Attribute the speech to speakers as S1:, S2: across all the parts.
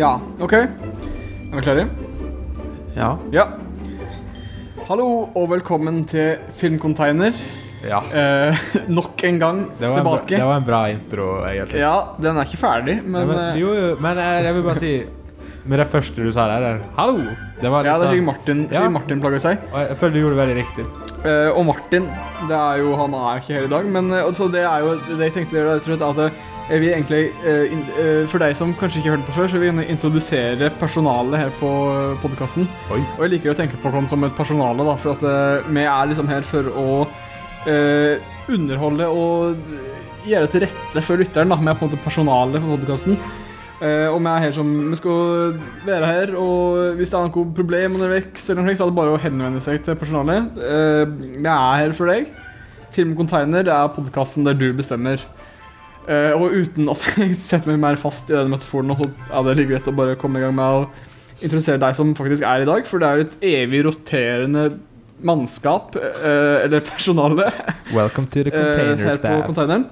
S1: Ja, OK. Er dere klare?
S2: Ja.
S1: Ja. Hallo og velkommen til Filmcontainer.
S3: Ja.
S1: Eh, nok en gang
S3: Det var, en bra,
S1: tilbake.
S3: det var en bra intro, egentlig.
S1: Ja, den er ikke ferdig, men,
S3: Nei,
S1: eh,
S3: men, jo, jo, men jeg, jeg vil bare si Med det første du sa der, der Hallo! Det var
S1: Ja,
S3: litt
S1: det er sikkert
S3: sånn
S1: Martin,
S3: Ja.
S1: sikkert Martin plager seg.
S3: og jeg, jeg føler du gjorde det veldig riktig.
S1: Eh, og Martin det er jo, Han er jo ikke her i dag, men eh, altså, det er jo det jeg tenkte jeg tror at det, jeg vil egentlig, eh, in, eh, For deg som kanskje ikke hørte på før, så vil jeg gjerne introdusere personalet her på eh, podkasten.
S3: Oi.
S1: Og jeg liker å tenke på oss som et personale, da, for at eh, vi er liksom her for å eh, underholde og eh, gjøre til rette for lytteren. da, Vi er på en måte personalet på podkasten. og vi er her som vi skal være her, og hvis det er noe problem underveis, eller noe slikt, så er det bare å henvende seg til personalet. Eh, vi er her for deg. Filmcontainer det er podkasten der du bestemmer. Eh, og uten at jeg setter meg mer fast i den metaforen, nå, så er det like greit å bare komme i gang med å introdusere deg som faktisk er i dag, for det er jo et evig roterende mannskap, eh, eller personale,
S3: Welcome to
S1: eh,
S3: the container
S1: her på
S3: staff.
S1: containeren.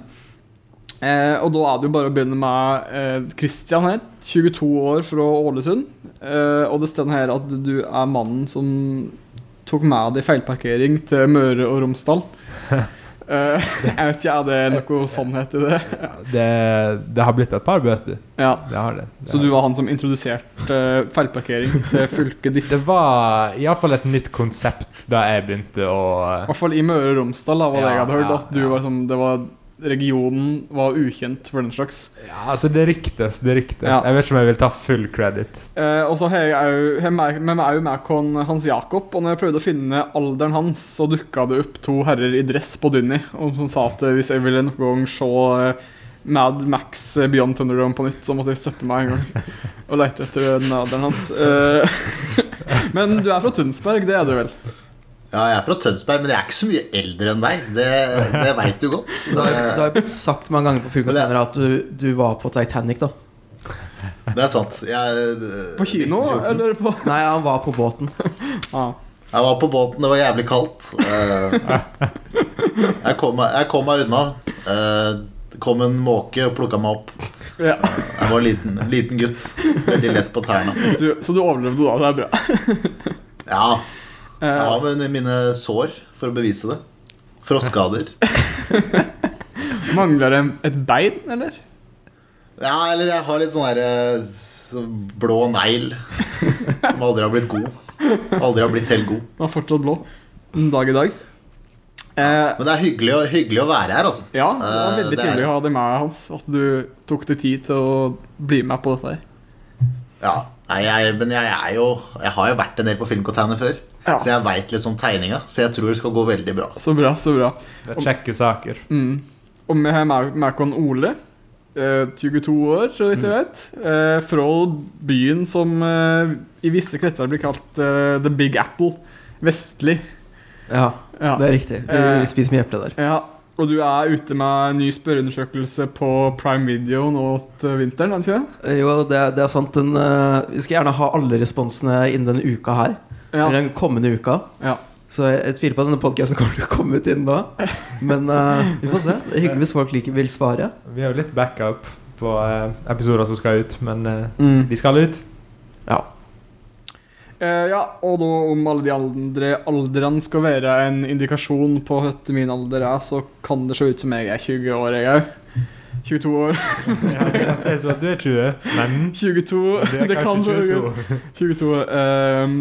S1: Eh, og da er det jo bare å begynne med eh, Christian her, 22 år fra Ålesund. Eh, og det står her at du er mannen som tok med deg feilparkering til Møre og Romsdal. Eh, jeg vet ikke, er det noe sannhet i det?
S3: Det, det har blitt et par bøter.
S1: Ja.
S3: Det har det. det
S1: Så
S3: har
S1: du
S3: det.
S1: var han som introduserte eh, feilparkering til fylket ditt?
S3: Det var iallfall et nytt konsept da jeg begynte å eh,
S1: I hvert fall i Møre og Romsdal da, var det
S3: Ja,
S1: jeg hadde hørt.
S3: ja,
S1: At du
S3: ja.
S1: var liksom, det var, regionen var ukjent for den slags.
S3: Ja, altså, det riktes, det riktes.
S1: Ja.
S3: Jeg vet ikke om jeg vil ta full credit.
S1: Eh, og så har jeg jo- har meg- med meg er jo med kon Hans Jakob, og når jeg prøvde å finne alderen hans, så dukka det opp to herrer i dress på Dynni og som sa at eh, hvis jeg ville noen gang se eh, Mad Max eh, Beyond Thunderdome på nytt, så måtte jeg steppe meg en gang og lete etter den alderen hans. Eh, men du er fra Tønsberg, det er du vel?
S4: Ja, jeg er fra Tønsberg, men jeg er ikke så mye eldre enn deg. Det, det veit du godt.
S2: Det har
S4: Eh.
S2: det har jo blitt sagt mange ganger på Filmcontainer at du, du var på Titanic, da.
S4: Det er sant. Jeg, eh,
S1: På kino, eller på
S2: Nei, han var på båten.
S1: ah.
S4: Jeg var på båten, det var jævlig kaldt. Eh, Jeg kom, meg- jeg kom meg unna. Eh, Det kom en måke og plukka meg opp.
S1: ja.
S4: Jeg var liten, liten gutt. Veldig lett på tærne.
S1: du, Så du overlevde da, det er bra.
S4: Ja, jeg
S1: Eh,
S4: har med mine sår for å bevise det. Frostskader.
S1: Mangler det et bein, eller?
S4: Ja, eller jeg har litt sånn derre blå negl som aldri har blitt god. Aldri har blitt helt god.
S1: Den er fortsatt blå. En dag i dag. Eh,
S4: Men det er hyggelig, å- hyggelig å være her, altså.
S1: ja, det var
S4: Eh,
S1: veldig
S4: det er-
S1: trivelig å ha deg med, Hans. At du tok deg tid til å bli med på dette her.
S4: Ja, nei, jeg, men jeg er jo Jeg har jo vært en del på Filmcontainer før.
S1: Ja.
S4: Så jeg veit litt om tegninga, så jeg tror det skal gå veldig bra.
S1: Så bra, så bra.
S3: Det er kjekke saker.
S1: Mm. Og vi har med med oss Ole, eh, 22 år, så vidt jeg vet. Eh, fra byen som eh, i visse kretser blir kalt eh, The Big Apple. Vestlig.
S2: Ja,
S1: Ja. Eh.
S2: det er riktig. Vi, vi spiser mye eple der.
S1: Ja, og du er ute med en ny spørreundersøkelse på Prime Video nå til vinteren, er det ikke det?
S2: Eh, Jo, det, er- det er sant. Den, eh, vi skal gjerne ha alle responsene innen denne uka her.
S1: Ja.
S2: Eller den kommende uka.
S1: Ja.
S2: Så jeg, jeg tviler på at denne podkasten kommer til å komme ut innen da. Men eh, vi får se. Det er hyggelig hvis folk liker, vil svare.
S3: Vi har jo litt backup på eh, episoder som skal ut, men eh,
S1: Mm.
S3: de skal ut.
S2: Ja.
S1: Eh, ja, og da om alle de andre aldrene skal være en indikasjon på hva min alder er, så kan det se ut som jeg er 20 år, jeg òg. 22 år.
S3: Ja, det kan se ut som at du er 20, men
S1: 22.
S3: det er kanskje
S1: se ut
S3: 22.
S1: 22 år. Ehm,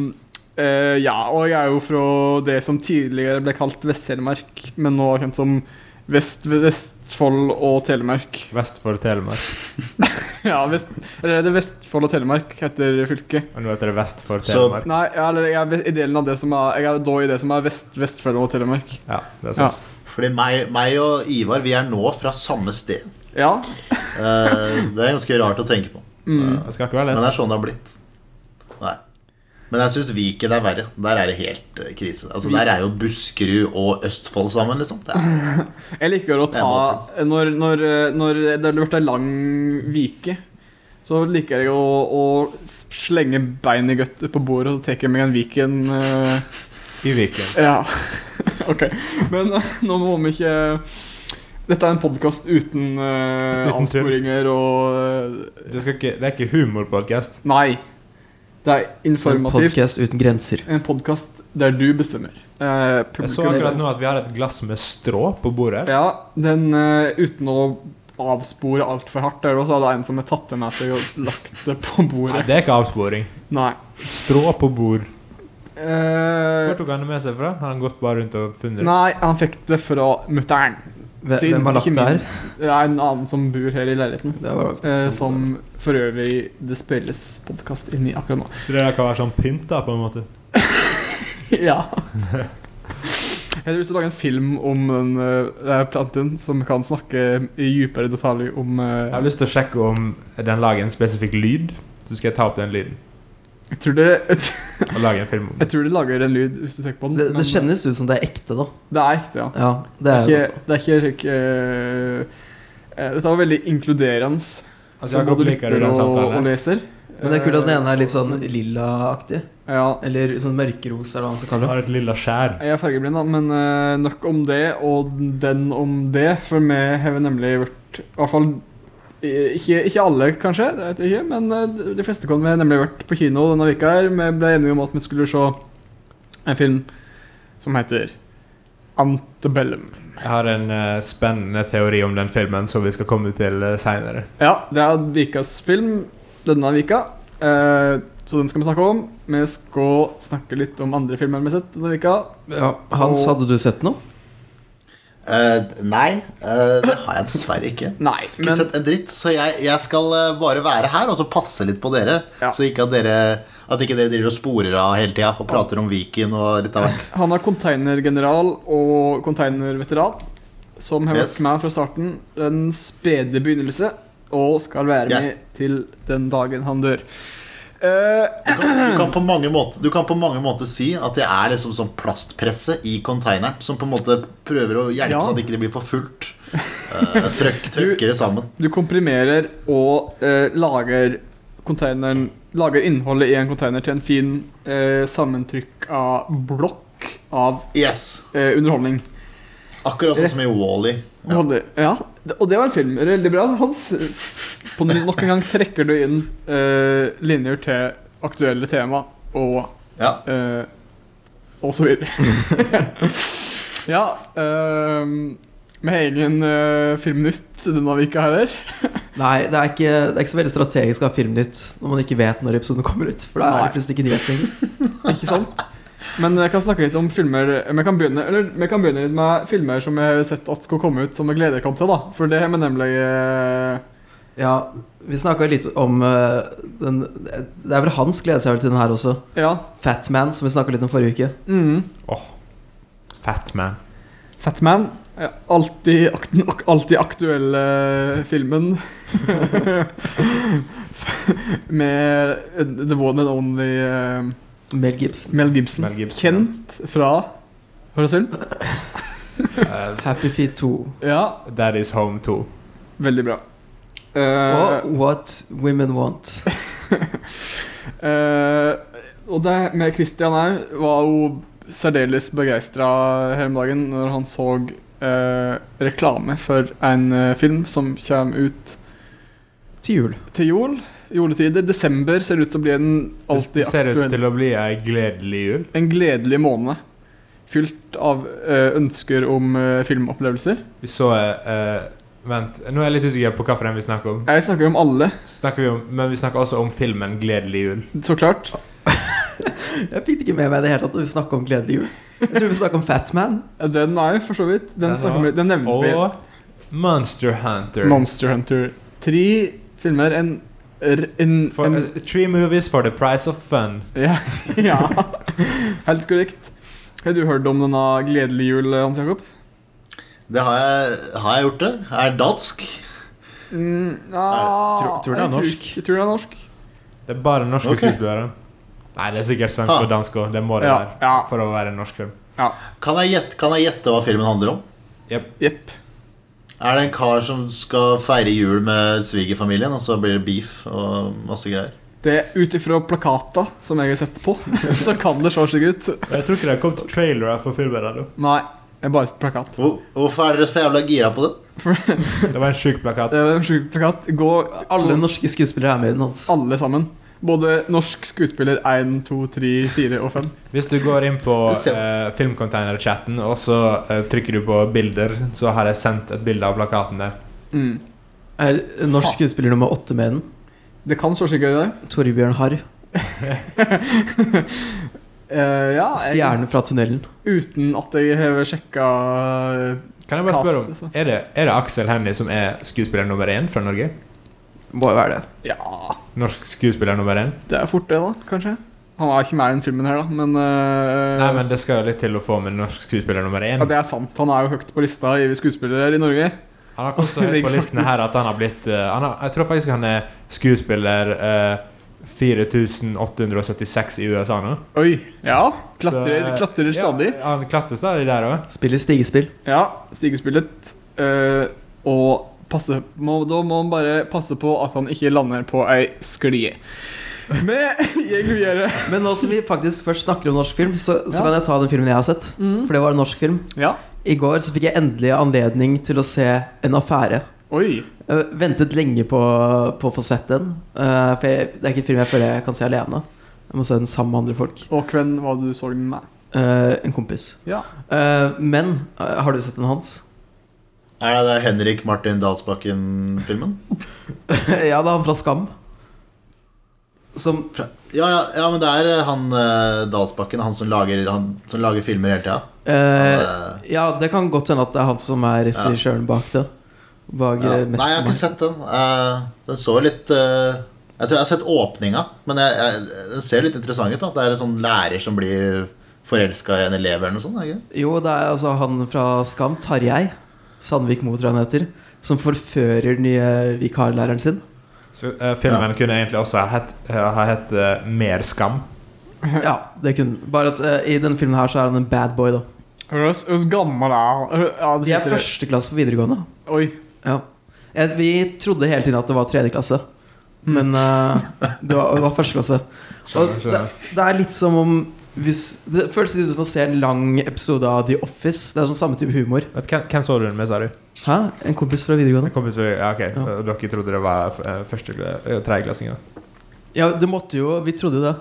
S1: eh, ja, og jeg er jo fra det som tidligere ble kalt Vest-Telemark, men nå er kjent som Vest Vestfold og Telemark.
S3: Vestfold Telemark.
S1: Ja, vest, eller det er Vestfold og Telemark heter fylket.
S3: Og nå heter det Vestfold
S4: Så-
S3: Telemark.
S1: Nei, ja, eller jeg er ve- i delen av det som er Jeg er da i det som er vest, Vestfold og Telemark.
S3: Ja, det er sant.
S4: Fordi meg, meg og Ivar, vi er nå fra samme sted.
S1: Ja.
S4: Eh, det er ganske rart å tenke på.
S1: Mm.
S3: Det skal ikke være
S4: Men det
S3: lett.
S4: er sånn det har blitt. Nei. Men jeg syns Viken er verre. Der er det helt eh, krise. Altså, der er jo Buskerud og Østfold sammen, liksom. Det er,
S1: Jeg liker å ta Når, når, eh, når det har vært ei lang vike, så liker jeg å, å slenge bein i gøttet på bordet og så tar jeg meg en Viken. eh,
S3: I Viken.
S1: eh, Ja. OK. Men nå må vi ikke Dette er en podkast uten, eh,
S3: Uten tull.
S1: avsporinger og eh,
S3: Det, skal ikke, det er ikke humorpodkast.
S1: Nei. Det er
S2: En
S1: informativt.
S2: podkast uten grenser.
S1: En podkast der du bestemmer. Eh,
S3: Jeg så
S1: publikum-
S3: akkurat nå at vi har et glass med strå på bordet. her.
S1: Ja, den eh, uten å avspore altfor hardt, der også, hadde jeg en som hadde tatt det med seg og lagt det på
S3: Nei,
S1: bordet.
S3: det er ikke avsporing.
S1: Nei.
S3: Strå på bord. Hvor
S1: Eh,
S3: tok han det med seg fra? Har han gått bare rundt og funnet det?
S1: nei, han fikk det fra mutter'n.
S2: Hvem,
S1: Siden-
S2: hvem har lagt
S1: ikke
S2: det her?
S1: min. Det er en annen som bor her i leiligheten.
S2: Det var lagt.
S1: Eh, som for øvrig det spilles podkast inni akkurat nå.
S3: Så det der kan være sånn pynt, da, på en måte?
S1: ja. Jeg har lyst til å lage en film om den uh, planten som kan snakke i dypere detalj om eh,
S3: Jeg har lyst til å sjekke om den lager en spesifikk lyd. Så skal jeg ta opp den lyden
S1: jeg, tror det,
S3: og lage en film om
S1: jeg
S3: det.
S1: tror det lager en lyd hvis du tenker på den.
S2: Det,
S1: men
S2: det kjennes ut som det er ekte, da.
S1: det er ekte, ja.
S2: Ja, det
S1: Det
S2: er
S1: er ikke, det er ikke slik eh, eh, Dette var veldig inkluderende.
S3: Altså, Jakob liker jo den
S1: og, og
S3: samtalen. her.
S1: leser.
S2: Men det er kult at den ene er litt sånn
S1: Eh,
S2: lillaaktig.
S1: Ja.
S2: Eller sånn mørkerosa, eller hva man skal
S3: Han
S2: kalle det.
S3: har et lilla skjær.
S1: Jeg er fargeblind, da, men eh, nok om det, og den om det. For vi har nemlig vært I hvert fall eh, ikke, ikke alle, kanskje, det vet jeg ikke, men eh, de fleste kan vi har nemlig vært på kino denne vika her. Vi ble enige om at vi skulle se en film som heter Antebellum.
S3: Jeg har en eh, spennende teori om den filmen som vi skal komme til uh, seinere.
S1: Ja, det er Vikas film denne vika. Eh, så den skal vi snakke om. Vi skal snakke litt om andre filmer vi har sett denne vika.
S2: Ja, Hans, hadde du sett noe?
S4: Eh, nei, eh, det har jeg dessverre ikke.
S1: Nei,
S4: Ikke
S1: men
S4: sett en dritt, så jeg, jeg skal eh, bare være her og så passe litt på dere.
S1: Ja.
S4: Så ikke at dere At ikke dere driver og sporer av hele tida og prater om Viken og litt av hvert.
S1: han er konteinergeneral og konteinerveteran. Som har vært
S4: Yes.
S1: med fra starten, den spede begynnelse, og skal være
S4: Ja.
S1: med til den dagen han dør. Eh,
S4: Du kan, du, kan på mange måter, du kan på mange måter si at det er liksom sånn plastpresse i konteineren som på en måte prøver å hjelpe
S1: Ja.
S4: sånn at det ikke blir for fullt. Eh, trøkk, trøkker det sammen.
S1: du komprimerer og eh, lager containeren Lager innholdet i en container til en fin eh, sammentrykk av blokk av
S4: Yes!
S1: eh, underholdning.
S4: Akkurat sånn som i Wall-E.
S1: Ja.
S4: Ja.
S1: Hadde, ja, det- og det var en film. Veldig bra. Hans, s- på ny- nok en gang trekker du inn eh, linjer til aktuelle tema og
S4: ja.
S1: eh, og så videre. ja ehm, Vi har ingen uh, filmnytt denne vika heller.
S2: Nei, det er, ikke, det er ikke så veldig strategisk å ha Filmnytt når man ikke vet når episoden kommer ut. For da er
S1: Nei.
S2: det plutselig ikke nyhet lenger.
S1: Ikke sant? Men jeg kan snakke litt om filmer Vi kan begynne, eller, vi kan begynne litt med filmer som jeg har sett at skal komme ut, som jeg gleder meg til. da For det har vi nemlig eh,
S2: Ja, vi snakka litt om eh, den Det er vel Hans gleder seg vel til den her også.
S1: Ja.
S2: Fatman, som vi snakka litt om forrige uke.
S1: Mm.
S3: Fatman.
S1: Fatman. eh, Alltid, ak ak- alltid aktuelle filmen. Med the one and only eh,
S2: Mel Gibson.
S1: Mel Gibson.
S3: Mel Gibson,
S1: Kent fra Hva slags film?
S3: Eh,
S2: Happy Feet 2.
S1: Ja,
S3: That is home 2.
S1: veldig bra. Eh,
S2: Og What Women Want.
S1: eh, og det med Christian òg var jo særdeles begeistra her om dagen når han så eh, reklame for en eh, film som kommer ut
S2: Til jul.
S1: til jul. Juletider. Desember ser ut til å bli en alltid
S3: det ser ut
S1: aktuell
S3: til å bli ei gledelig jul.
S1: En gledelig måned. Fylt av eh, ønsker om eh, filmopplevelser.
S3: Vi så eh, Vent, nå er jeg litt usikker på hvilken vi snakker om.
S1: Jeg snakker om alle,
S3: Snakker vi om. Men vi snakker også om filmen 'Gledelig jul'.
S1: så klart.
S2: Jeg fikk det ikke med meg i det hele tatt når vi snakka om Gledelig jul. Jeg tror vi snakka om Fatman.
S1: Den er for så vidt. Den,
S3: Den
S1: snakker
S3: var-
S1: vi- den nevner vi.
S3: Og Monster Hunter.
S1: Monster Hunter. Tre filmer. En, r- en,
S3: For,
S1: en
S3: eh, three movies for the price of fun.
S1: ja, ja. Helt korrekt. Har du hørt om denne Gledelig jul, Hans Jakob?
S4: Det har jeg, har jeg gjort, det. Jeg er dansk.
S1: Mm, ja,
S2: Tror- tror den er
S1: jeg
S2: norsk.
S1: ikke- Jeg tror den er norsk.
S3: Det er bare norske
S4: Ok.
S3: skuespillere. Nei, det er sikkert svensk
S4: Ah.
S3: og dansk òg. Det må det
S1: Ja,
S3: være
S1: ja.
S3: for å være en norsk film.
S4: Kan jeg, gjette, kan jeg gjette hva filmen handler om?
S1: Jepp.
S4: Er det en kar som skal feire jul med svigerfamilien, og så blir det beef og masse greier?
S1: Det Ut ifra plakata som jeg har sett på, så kan det se slik ut.
S3: Jeg tror ikke det har kommet trailere for filmen ennå.
S1: Nei. Det er bare et plakat.
S4: Hvor, hvorfor er dere så jævla gira på den?
S3: Det var en sjuk plakat.
S1: Det er en sjuk plakat. Gå
S2: Alle norske skuespillere er med i den hans.
S1: alle sammen. Både norsk skuespiller 1, 2, 3, 4 og 5.
S3: Hvis du går inn på
S4: Det ser-
S3: eh, filmcontainer-chatten, og så eh, trykker du på 'bilder', så har jeg sendt et bilde av plakaten der.
S1: Mm.
S2: Er norsk skuespiller nummer åtte med i den?
S1: Det kan så slik ut i dag.
S2: Torbjørn Harr.
S1: Eh, ja, jeg-
S2: Stjerne fra tunnelen.
S1: uten at jeg har sjekka
S3: Kan jeg bare
S1: Cast,
S3: spørre
S1: altså.
S3: om Er det, er det Aksel Hennie som er skuespiller nummer én fra Norge?
S2: Må jo være det.
S1: Ja,
S3: Norsk skuespiller nummer én?
S1: det er fort det, da, kanskje. Han er ikke med i den filmen her, da, men, eh,
S3: Nei, men det skal jo litt til å få med norsk skuespiller nummer én.
S1: Ja, det er sant. Han er jo høyt på lista i skuespillere i Norge.
S3: Han har kommet så høyt
S1: Ligger
S3: på listen her at han har blitt eh, han har, Jeg tror faktisk han er skuespiller eh, 4876 i USA nå.
S1: Oi. Ja.
S3: Så,
S1: Klatrer,
S3: eh,
S1: klatrer stadig.
S3: Ja, han klatrer stadig der òg.
S2: Spiller stigespill.
S1: Ja, stigespillet. eh, og passe må, Da må han bare passe på at han ikke lander på ei sklie. Med Diego Viere.
S2: Men nå som vi faktisk først snakker om norsk film, så, så
S1: Ja.
S2: kan jeg ta den filmen jeg har sett.
S1: Mm.
S2: For det var en norsk film.
S1: Ja.
S2: I går så fikk jeg endelig anledning til å se En affære.
S1: Oi.
S2: Jeg ventet lenge på, på å få sett den. eh, for jeg, det er ikke en film jeg føler jeg kan se alene. Jeg må se den sammen med andre folk.
S1: Og hvem var det du så den med?
S2: Eh, en kompis.
S1: Ja.
S2: Eh, men eh, har du sett den hans?
S4: Er det, det Henrik Martin Dalsbakken-filmen?
S2: ja, det er han fra Skam. Som
S4: Fra- Ja, ja, ja, men det er han eh, Dalsbakken, han som lager, han, som lager filmer hele tida.
S2: eh,
S4: Han, eh,
S2: Ja, det kan godt hende at det er han som er regissøren bak det. Bak,
S4: ja.
S2: eh,
S4: Nei, jeg har ikke
S2: Mestermann.
S4: sett den. Eh, den så litt eh, Jeg tror jeg har sett åpninga, men jeg, jeg, den ser litt interessant ut. da Det er en sånn lærer som blir forelska i en elev eller noe sånt. er det Ikke?
S2: Jo, det er altså han fra Skam, Tarjei Sandvik Mo, tror jeg han heter. Som forfører den nye vikarlæreren sin.
S3: Så eh, filmen kunne egentlig også ha hett ha hett, eh, 'Mer skam'.
S2: Ja, det kunne Bare at eh, i denne filmen her så er han en bad boy, da.
S1: Høres høres gammel er han? Ja, det
S2: De er
S1: sitter-
S2: førsteklasse på videregående.
S1: Oi.
S2: Ja. Jeg, vi trodde hele tiden at det var tredje klasse, men eh, det, var, det var første klasse. Og
S3: Skjønner,
S2: det,
S3: skjønner.
S2: det er litt som om hvis, Det føles litt ut som å se en lang episode av The Office. Det er sånn samme type humor.
S3: Vet, hvem, hvem så du den med, sa du?
S2: Hæ? En kompis fra
S3: En
S2: videregående?
S3: kompis ja, ok,
S2: Ja.
S3: Dere trodde det var eh, første eh, tredjeklassingen?
S2: Ja, det måtte jo Vi trodde jo det.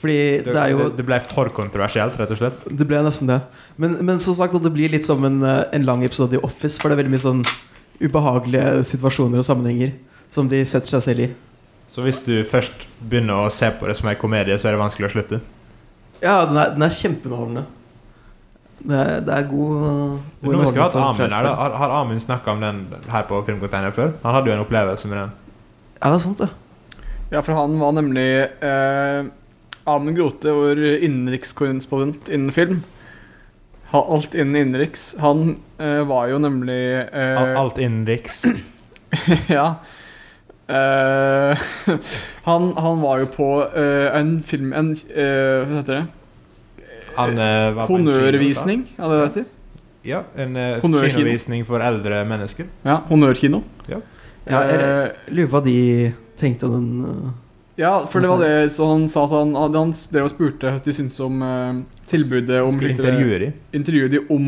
S2: Fordi
S3: Det,
S2: det er jo
S3: det, det ble for kontroversielt, rett og slett.
S2: Det ble nesten det. Men, men som sagt, at det blir litt som en, eh, en lang episode i Office. For det er veldig mye sånn ubehagelige situasjoner og sammenhenger som de setter seg selv i.
S3: Så hvis du først begynner å se på det som en komedie, så er det vanskelig å slutte?
S2: Ja, den er, den er kjempeunderholdende. Det er, det er god god
S3: Nå skal vi ha
S2: underholdning
S3: hatt
S2: for
S3: Amund her da.
S2: fredagsmorgen.
S3: Har, har Amund snakka om den her på Filmcontainer før? Han hadde jo en opplevelse med den.
S2: Ja, det er sant, det.
S1: Ja, for han var nemlig eh, Amund Grote, vår innenrikskorrespondent innen film. Ha, alt innen innenriks. Han eh, var jo nemlig eh,
S3: Al- Alt innenriks.
S1: Ja. Eh, han, han var jo på eh, en film... En, eh, hva heter det?
S3: Han eh, var på en
S1: Honnørvisning? Ja, det heter det.
S3: kino- Ja, en eh,
S1: Honnørkino.
S3: kinovisning for eldre mennesker.
S1: Ja, Honnørkino.
S2: Ja, jeg
S1: Eh,
S2: jeg lurer på hva de tenkte om den eh,
S1: Ja, for det var det så han sa at han, han drev og spurte hva de syntes om eh, tilbudet om
S3: Skulle
S1: litt-
S3: intervjue de.
S1: intervjuet de om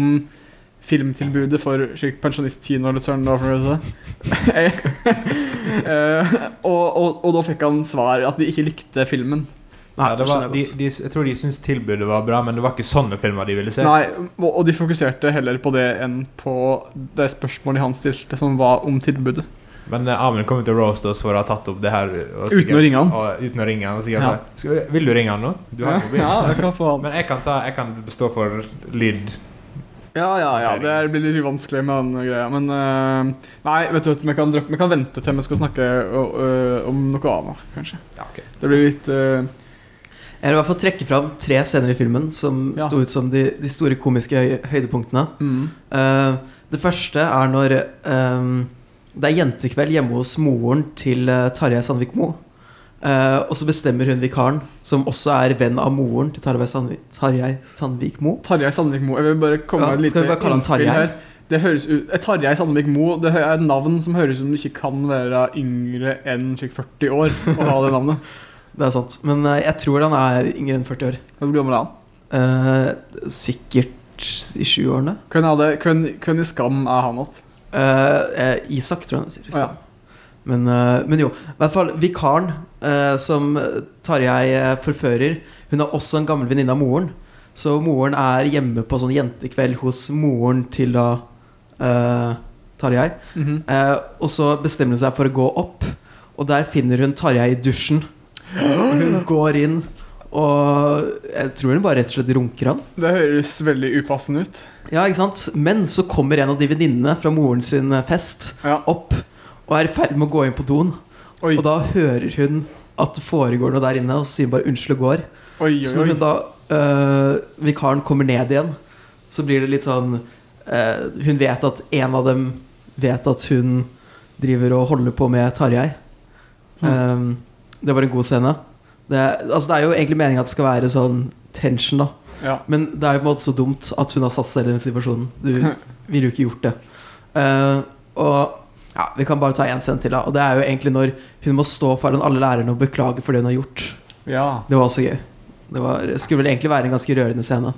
S1: filmtilbudet for slik pensjonistkino eller søren da for noe sånt. Eh, og, og, og da fikk han svar at de ikke likte filmen.
S2: Nei,
S3: Ja, det var,
S2: skjønner
S3: de,
S2: jeg godt.
S3: de, jeg tror de syntes tilbudet var bra, men det var ikke sånne filmer de ville se.
S1: Nei, og, og de fokuserte heller på det enn på det spørsmålet han stilte, som var om tilbudet.
S3: Men eh, Amund kommer til å roaste oss for å ha tatt opp det her. og
S1: Uten å ringe han.
S3: Og, uten å ringe han og sikkert
S1: Ja.
S3: si, «Skal vi- Vil du ringe han nå? Du har
S1: ja,
S3: mobil.
S1: ja, hva faen.
S3: Men jeg kan, ta, jeg kan stå for lyd.
S1: Ja, ja, ja, det her blir litt vanskelig med den greia, men eh, Nei, vet du hva, vi kan, droppe- vi kan vente til vi skal snakke o- ø, om noe annet, kanskje.
S3: Ja, ok.
S1: Det blir litt eh,
S2: Jeg vil i hvert fall trekke fram tre scener i filmen som
S1: Ja.
S2: sto ut som de, de store komiske høy, høydepunktene.
S1: mm.
S2: Eh, det første er når eh, det er jentekveld hjemme hos moren til eh, Tarjei Sandvik Mo. Eh, og så bestemmer hun vikaren, som også er venn av moren til Tarjei Sandvik, Tarjei Sandvik Mo.
S1: Tarjei Sandvik Mo. Jeg vil bare komme
S2: Ja,
S1: med et
S2: skal vi bare
S1: lite
S2: kalle han
S1: innspill
S2: Tarjei?
S1: her. Det høres ut, eh, Tarjei Sandvik Mo det hø- er et navn som høres ut som du ikke kan være yngre enn slik 40 år å ha det navnet.
S2: Det er sant. Men eh, jeg tror han er yngre enn 40 år.
S1: Hvor gammel er han?
S2: Eh, sikkert vært i 20-årene.
S1: Hvem, er det- hvem, hvem i Skam er han igjen?
S2: Eh, eh, Isak, tror jeg han sier.
S1: Å, ja.
S2: Men, eh, men jo, i hvert fall vikaren eh, som Tarjei eh, forfører, hun er også en gammel venninne av moren. Så moren er hjemme på sånn jentekveld hos moren til da eh, Tarjei.
S1: Mhm.
S2: Eh, og så bestemmer hun seg for å gå opp, og der finner hun Tarjei i dusjen. Og Hun går inn, og jeg tror hun bare rett og slett runker han.
S1: Det høres veldig upassende ut.
S2: Ja, ikke sant? Men så kommer en av de venninnene fra moren sin fest
S1: Ja.
S2: opp og er i ferd med å gå inn på doen.
S1: Oi,
S2: Og da hører hun at det foregår noe der inne, og sier bare 'unnskyld' og går.
S1: oi,
S2: Så
S1: oi.
S2: når hun da øh, vikaren kommer ned igjen, så blir det litt sånn øh, Hun vet at en av dem vet at hun driver og holder på med Tarjei.
S1: Mm.
S2: Ehm, det var en god scene. Det, altså det er jo egentlig meningen at det skal være sånn tension, da.
S1: Ja.
S2: Men det er jo på en måte så dumt at hun har satt seg i den situasjonen. Du ville jo ikke gjort det. Eh, og ja, vi kan bare ta én scene til, da. Og det er jo egentlig når hun må stå foran alle lærerne og beklage for det hun har gjort.
S1: ja.
S2: Det var også gøy. Det var, skulle vel egentlig være en ganske rørende scene.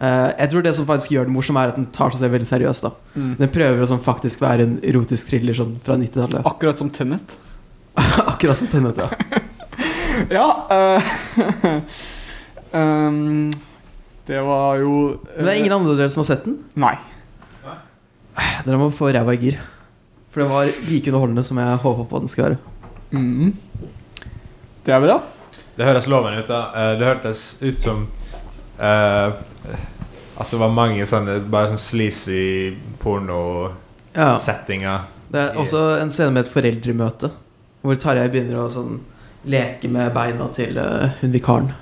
S2: Eh, jeg tror det som faktisk gjør det morsomt, er at den tar seg selv veldig seriøst. da
S1: Mm.
S2: Den prøver å sånn faktisk være en erotisk thriller sånn fra 90-tallet.
S1: Akkurat som Tennet.
S2: Akkurat som Tenet, ja.
S1: Ja eh, ehm, Det var jo eh,
S2: Men det er ingen andre av dere som har sett den?
S1: Nei.
S2: Dere må få ræva i gir. For det var like underholdende som jeg håpa på den skulle være.
S1: Mhm. Det er bra.
S3: Det høres lovende ut. da Eh, Det hørtes ut som eh, at det var mange sånne bare sånn sleazy porno-settinger.
S2: Ja. Det er også en scene med et foreldremøte, hvor Tarjei begynner å sånn leke med beina til eh, hun vikaren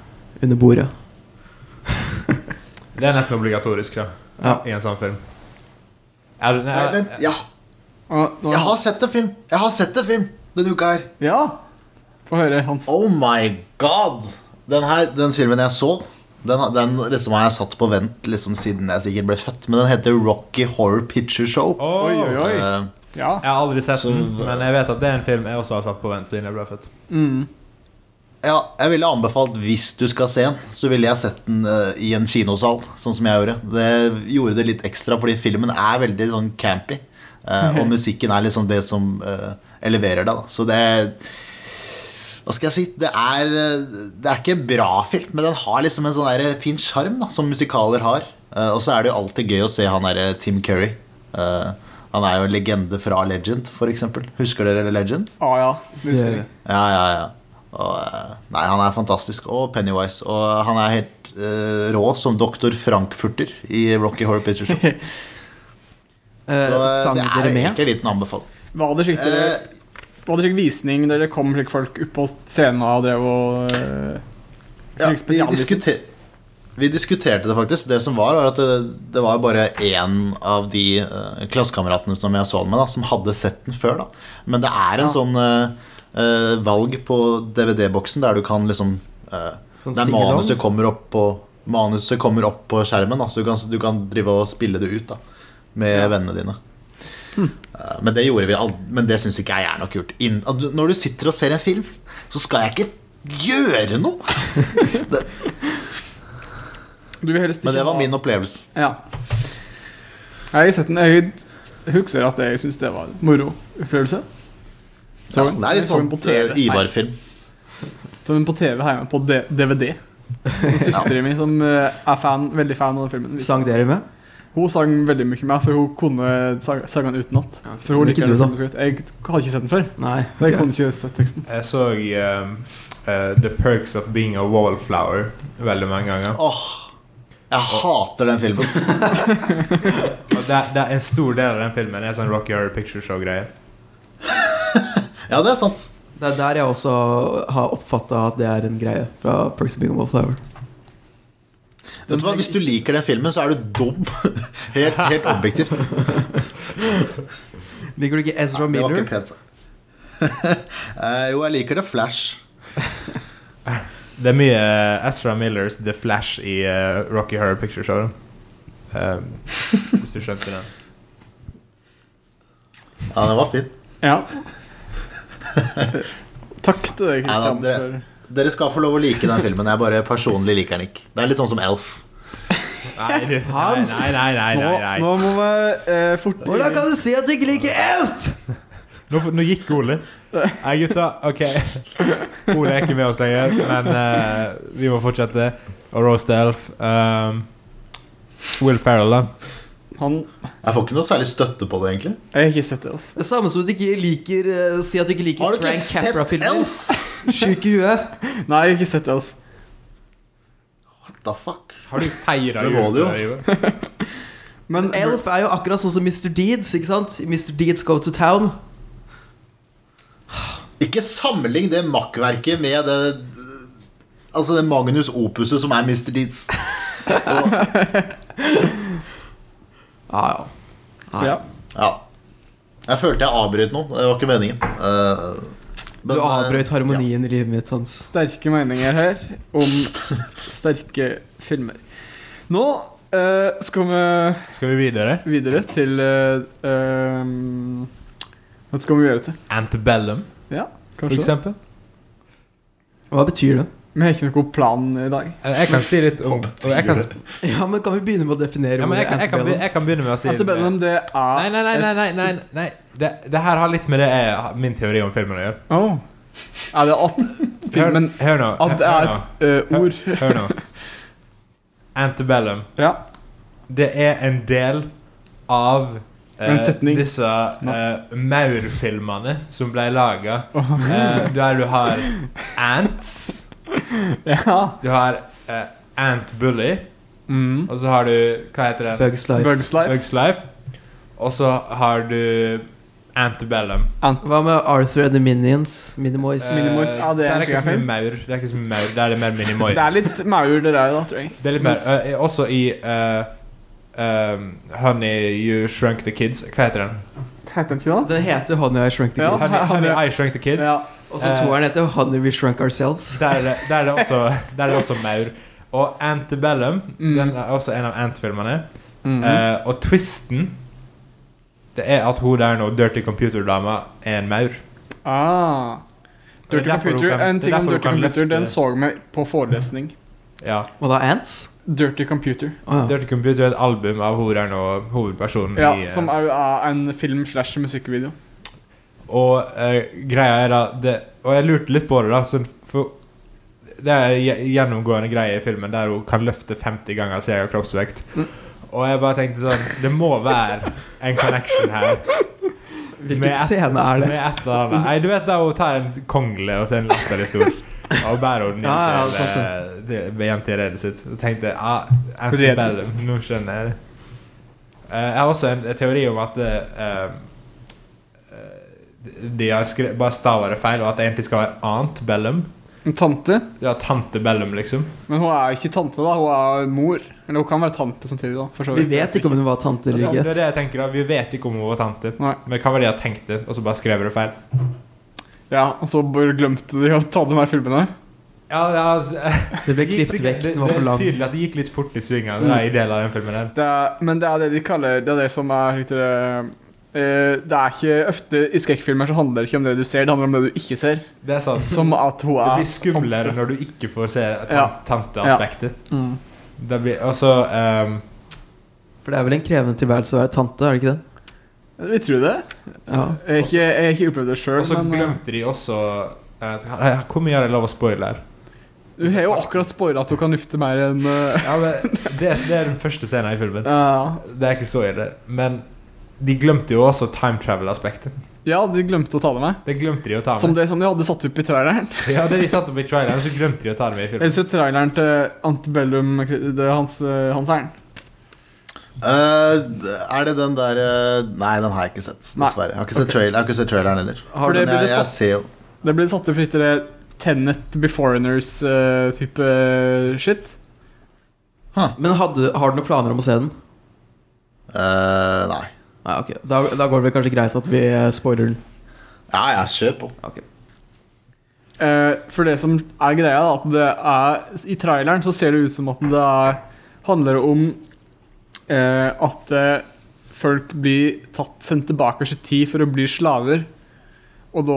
S2: under bordet.
S3: Det er nesten obligatorisk da
S2: Ja.
S3: i en sånn film. Er det,
S4: Nei, vent, ja,
S1: Og nå-
S4: jeg har sett en film! Jeg har sett en film denne uka her.
S1: Ja. Få høre, Hans.
S4: Oh my god! Den, her, den filmen jeg så, den, har- den liksom har jeg satt på vent liksom siden jeg sikkert ble født. Men den heter Rocky Horror Picture Show.
S3: Åh!
S1: Oi, oi, oi.
S4: Eh,
S1: Ja.
S3: Jeg har aldri sett
S4: Så-
S3: den, men jeg vet at det er en film jeg også har satt på vent siden jeg ble født.
S1: Mm.
S4: ja, jeg ville anbefalt hvis du skal se den, så ville jeg sett den eh, i en kinosal. Sånn som jeg gjorde. Det gjorde det litt ekstra, fordi filmen er veldig sånn campy. eh, og musikken er liksom det som eh, eleverer deg, da. Så det Hva skal jeg si? Det er, eh, det er ikke en bra film, men den har liksom en sånn der fin sjarm da, som musikaler har. Eh, og så er det jo alltid gøy å se han derre Tim Curry. Eh, han er jo en legende fra Legend, f.eks. Husker dere Legend?
S1: Ah, ja. Det husker jeg.
S2: Det-
S4: Ja, ja, ja. Og, eh, nei, han er fantastisk. Og Pennywise. Og han er helt eh, rå som doktor Frankfurter i Rocky Horror Picture Show. Så
S2: eh,
S4: eh,
S2: sang
S4: det er
S2: dere
S4: jo
S2: med?
S4: egentlig en liten anbefaling.
S1: Var det slik dere
S4: Eh,
S1: Var det slik visning der det kom slik folk opp på scenen og drev og eh,
S4: ja,
S1: slik
S4: vi,
S1: spesialvisning?
S4: diskuter vi diskuterte det faktisk. Det som var, var at det, det var bare én av de eh, klassekameratene som jeg så den med, da, som hadde sett den før. Da. Men det er en sånn eh, eh, valg på DVD-boksen der du kan liksom eh,
S2: Sånn
S4: Det er
S2: sing-along?
S4: manuset kommer opp på Manuset kommer opp på skjermen da, Så du kan, du kan drive og spille det ut da Med vennene dine Eh, Men det gjorde vi ald- Men det synes ikke jeg er noe kult Inn- at du- Når du sitter og ser en film Så skal jeg ikke gjøre noe
S1: Du vil helst ikke
S4: Men det var
S1: ha-
S4: min opplevelse
S1: Ja. Jeg har sett den. Jeg husker at jeg syns det var en moro opplevelse.
S4: ja, Det er litt
S1: Så den
S4: sånn
S1: på TV?
S4: eh, Ivar-film
S1: Så den på TV hjemme på D- DVD. Og Søstera mi, som eh, er fan, veldig fan av den filmen, visste-
S2: Sang dere med?
S1: hun sang veldig mye med, for hun kunne sang- sangene utenat.
S2: Ja,
S1: For hun
S2: men ikke
S1: liker
S2: du,
S1: den
S2: da.
S1: filmen så godt. Jeg hadde ikke sett den før.
S2: Nei.
S1: Så jeg
S2: ok.
S1: kunne ikke sett teksten.
S3: Jeg så ehm, eh, The Perks of Being a Wallflower veldig mange ganger.
S4: Åh Jeg hater den filmen
S3: Og det, det er En stor del av den filmen er sånn Rocky Horror Picture Show-greier.
S4: Ja, det er sant
S2: Det er der jeg også har oppfatta at det er en greie fra Perks of Being a Wallflower.
S4: Vet du hva, hvis du liker den filmen så er du dum Helt, helt objektivt
S2: Liker du ikke
S4: Det
S2: Ezra
S4: var
S2: Miller?
S4: ikke pent sagt. Eh, jo, jeg liker det Flash.
S3: Det er mye eh, Ezra Millers The Flash i eh, Rocky Horror Picture Show. Eh, hvis du skjønte den.
S4: Ja, den var fin.
S1: Ja. Takk til deg, Kristian.
S4: Nei, da,
S1: for
S4: Dere skal få lov å like den filmen. Jeg bare personlig liker den ikke. Det er litt sånn som Elf.
S3: Nei, du.
S2: Hans.
S3: Nei, nei, nei.
S1: Nå,
S3: nei, nei.
S1: nå må vi eh, fortere
S2: Hvordan kan du si at du ikke liker Elf?
S3: Nå, nå gikk Ole. Nei, gutta. Ok. Ole er ikke med oss lenger, men eh, vi må fortsette å roaste Elf. Um, Will Ferrell, da.
S1: Han
S4: Jeg får ikke noe særlig støtte på det, egentlig.
S1: Jeg har ikke sett det.
S2: Det er samme som at du ikke liker eh, Si at du ikke liker
S4: Har du ikke
S2: Frank
S4: sett
S2: Capra-filmer.
S4: Elf?
S2: Sjuk i huet.
S1: Nei, jeg har ikke sett Elf.
S4: What the fuck?
S3: Har du feira
S4: Det må du jo.
S1: Men
S2: Men Elf er jo akkurat sånn som Mr. Deeds, ikke sant? I Mr. Deeds Go to Town.
S4: Ikke sammenlign det makkverket med det Altså det Magnus Opuset som er Mr. Deeds.
S2: Ja, ja. Nei.
S1: ja.
S4: Ja. Jeg følte jeg avbrøt noe. Det var ikke meningen. Eh, men,
S2: Du
S4: eh,
S2: avbrøt
S4: ja.
S2: harmonien i livet mitt, Hans.
S1: Sterke meninger her om sterke filmer. Nå eh, skal vi
S3: Skal vi videre?
S1: videre til eh, ehm, Hva skal vi gjøre til?
S3: Antebellum,
S1: Ja,
S3: for
S1: kanskje det.
S3: eksempel.
S2: Hva betyr det?
S1: Vi har ikke noen plan i dag.
S3: Eller, Eh, Jeg kan si litt om og jeg kan,
S2: Ja, men Kan vi begynne med å definere
S3: ja, men jeg, kan, jeg, kan, be- jeg kan begynne med å si
S1: Antebellum, det er
S3: Nei, nei, nei. nei, nei, nei, nei. Det, det her har litt med det jeg, min teori om filmen å gjøre.
S1: Åh. Er det at
S3: Hør,
S1: filmen
S3: hør nå.
S1: At det
S3: hør
S1: er
S3: nå.
S1: et eh, ord?
S3: Hør, hør nå. Antebellum.
S1: Ja.
S3: Det er en del av
S1: En setning.
S3: disse eh, maurfilmene som ble laga. der du har ants.
S1: ja.
S3: Du har eh, Ant Bully.
S1: Mm.
S3: Og så har du Hva heter den?
S2: Bugs Life.
S1: Bugs Life.
S3: Bugs Life. Og så har du Antebellum.
S2: Hva med Arthur and the Minions? Minimoys?
S3: Eh,
S1: Minimoys, ja, det er
S3: der
S1: en
S3: ikke så
S1: film.
S3: mye maur. Det er ikke så mye maur, der er det mer minimoy.
S1: Det er litt maur, det der, da, tror jeg.
S3: Det er litt mer eh, Også i eh, eh, Honey You Shrunk The Kids. Hva heter den?
S1: Heter den ikke det?
S2: Den heter Honey I Shrunk the
S1: Ja.
S2: Kids.
S3: Honey, honey I Shrunk The Kids.
S1: Ja.
S2: Og så
S3: Eh.
S2: toeren heter Honey We Shrunk Ourselves.
S3: Der er det, der er det, også, der er det også maur. Og Antebellum
S1: Mm.
S3: Den er også en av Ant-filmene.
S1: Mhm.
S3: Eh, og twisten Det er at hun der nå, Dirty Computer-dama, er en maur.
S1: Ah.
S3: Det er
S1: Dirty
S3: derfor hun
S1: Computer,
S3: kan-
S1: En
S3: det er
S1: ting om
S3: derfor hun
S1: Dirty
S3: kan
S1: Computer,
S3: løfte-
S1: den så vi på forelesning.
S3: Ja.
S2: Og da Ants?
S1: Dirty Computer.
S2: Å, ja.
S3: Dirty Computer er et album av hun der nå, hovedpersonen
S1: Ja,
S3: i eh,
S1: Som er jo er en film slash musikkvideo.
S3: Og eh, greia er da det, Og jeg lurte litt på det, da. sånn, for det er en gjennomgående greie i filmen der hun kan løfte 50 ganger sin egen kroppsvekt. Og jeg bare tenkte sånn Det må være en connection her.
S2: Hvilken
S3: Med-
S2: scene er det?
S3: Med et eller annet. Nei, du vet da hun tar en kongle og så en latter i stor. Og bærer den inn
S2: Ja, ja,
S3: til,
S2: sånn,
S3: eh, det- hjem til redet sitt. Og tenkte ah,
S1: Redet.
S3: Antebellum, nå skjønner jeg det. Eh, jeg har også en, en teori om at eh, eh, de har skre- bare stava det feil, og at det egentlig skal være Aunt Bellum.
S1: En tante.
S3: Ja, Tante Bellum, liksom.
S1: Men hun er jo ikke tante, da. Hun er mor. Eller hun kan være tante samtidig, da. For så
S2: Vi
S1: vidt.
S2: vet ikke om hun var tante
S3: Altså, Det
S2: eller
S3: er
S2: ikke.
S3: det jeg tenker da, Vi vet ikke om hun var tante,
S1: Nei.
S3: men det kan være de har tenkt det, og så bare skrev det feil.
S1: Ja, Og så bare glemte de å ta de her filmene.
S3: Ja, ja, altså,
S2: Det ble
S3: Det gikk
S2: klippet
S3: sikkert-
S2: vekk.
S3: det-
S2: Den var for
S3: Det er
S2: lang.
S3: tydelig at det gikk litt fort i svingene
S1: Mm.
S3: da, i deler av den filmen. her
S1: Det er, men det er det de kaller Det er det som er litt eh, eh, Det er ikke ofte I skrekkfilmer så handler det ikke om det du ser, det handler om det du ikke ser.
S3: Det er sant.
S1: Som at hun
S3: det
S1: er
S3: blir skumlere når du ikke får se tan
S1: Ja.
S3: tanteaspektet.
S1: Mm.
S3: Det blir også ehm,
S2: For det er vel en krevende tilværelse å være tante, er det ikke det?
S1: Vi tror det.
S2: Ja.
S1: Jeg har ikke, jeg har ikke opplevd det
S3: Og så
S1: sjøl, men eh,
S3: glemte de også eh, Nei, Hvor mye er det lov å spoile her?
S1: du har jo akkurat spoila at hun kan lufte mer enn eh,
S3: Ja, men det, er- det er den første scenen i filmen.
S1: ja.
S3: Det er ikke så ille. Men de glemte jo også time travel-aspektet.
S1: ja, du glemte å ta det med.
S3: Det glemte de å ta med.
S1: Som det som de hadde satt opp i traileren.
S3: Ja, det de satt opp i traileren, så glemte de å ta det med i
S1: Jeg
S3: filmen.
S1: husker traileren til Antebellum det er Hans, eh, hans Ern.
S4: Eh, er det den der eh, Nei, den har jeg ikke sett,
S1: Nei.
S4: dessverre. Jeg har ikke sett, trail, jeg har ikke sett traileren heller.
S1: For det
S4: Men
S1: blir
S4: jeg,
S1: det
S4: jeg
S1: satt,
S4: ser jo
S1: det blir satt opp litt i det Tenet Beforeigners-type eh, shit.
S2: Men hadde, har du noen planer om å se den?
S4: eh, Nei.
S2: Nei, ok. Da, da går det vel kanskje greit at vi eh, spoiler den.
S4: Ja, ja, kjør på.
S1: Eh, for det som er greia, da, at det er I traileren så ser det ut som at det er, handler om eh, at eh, folk blir tatt, sendt tilbake i sin tid for å bli slaver. Og da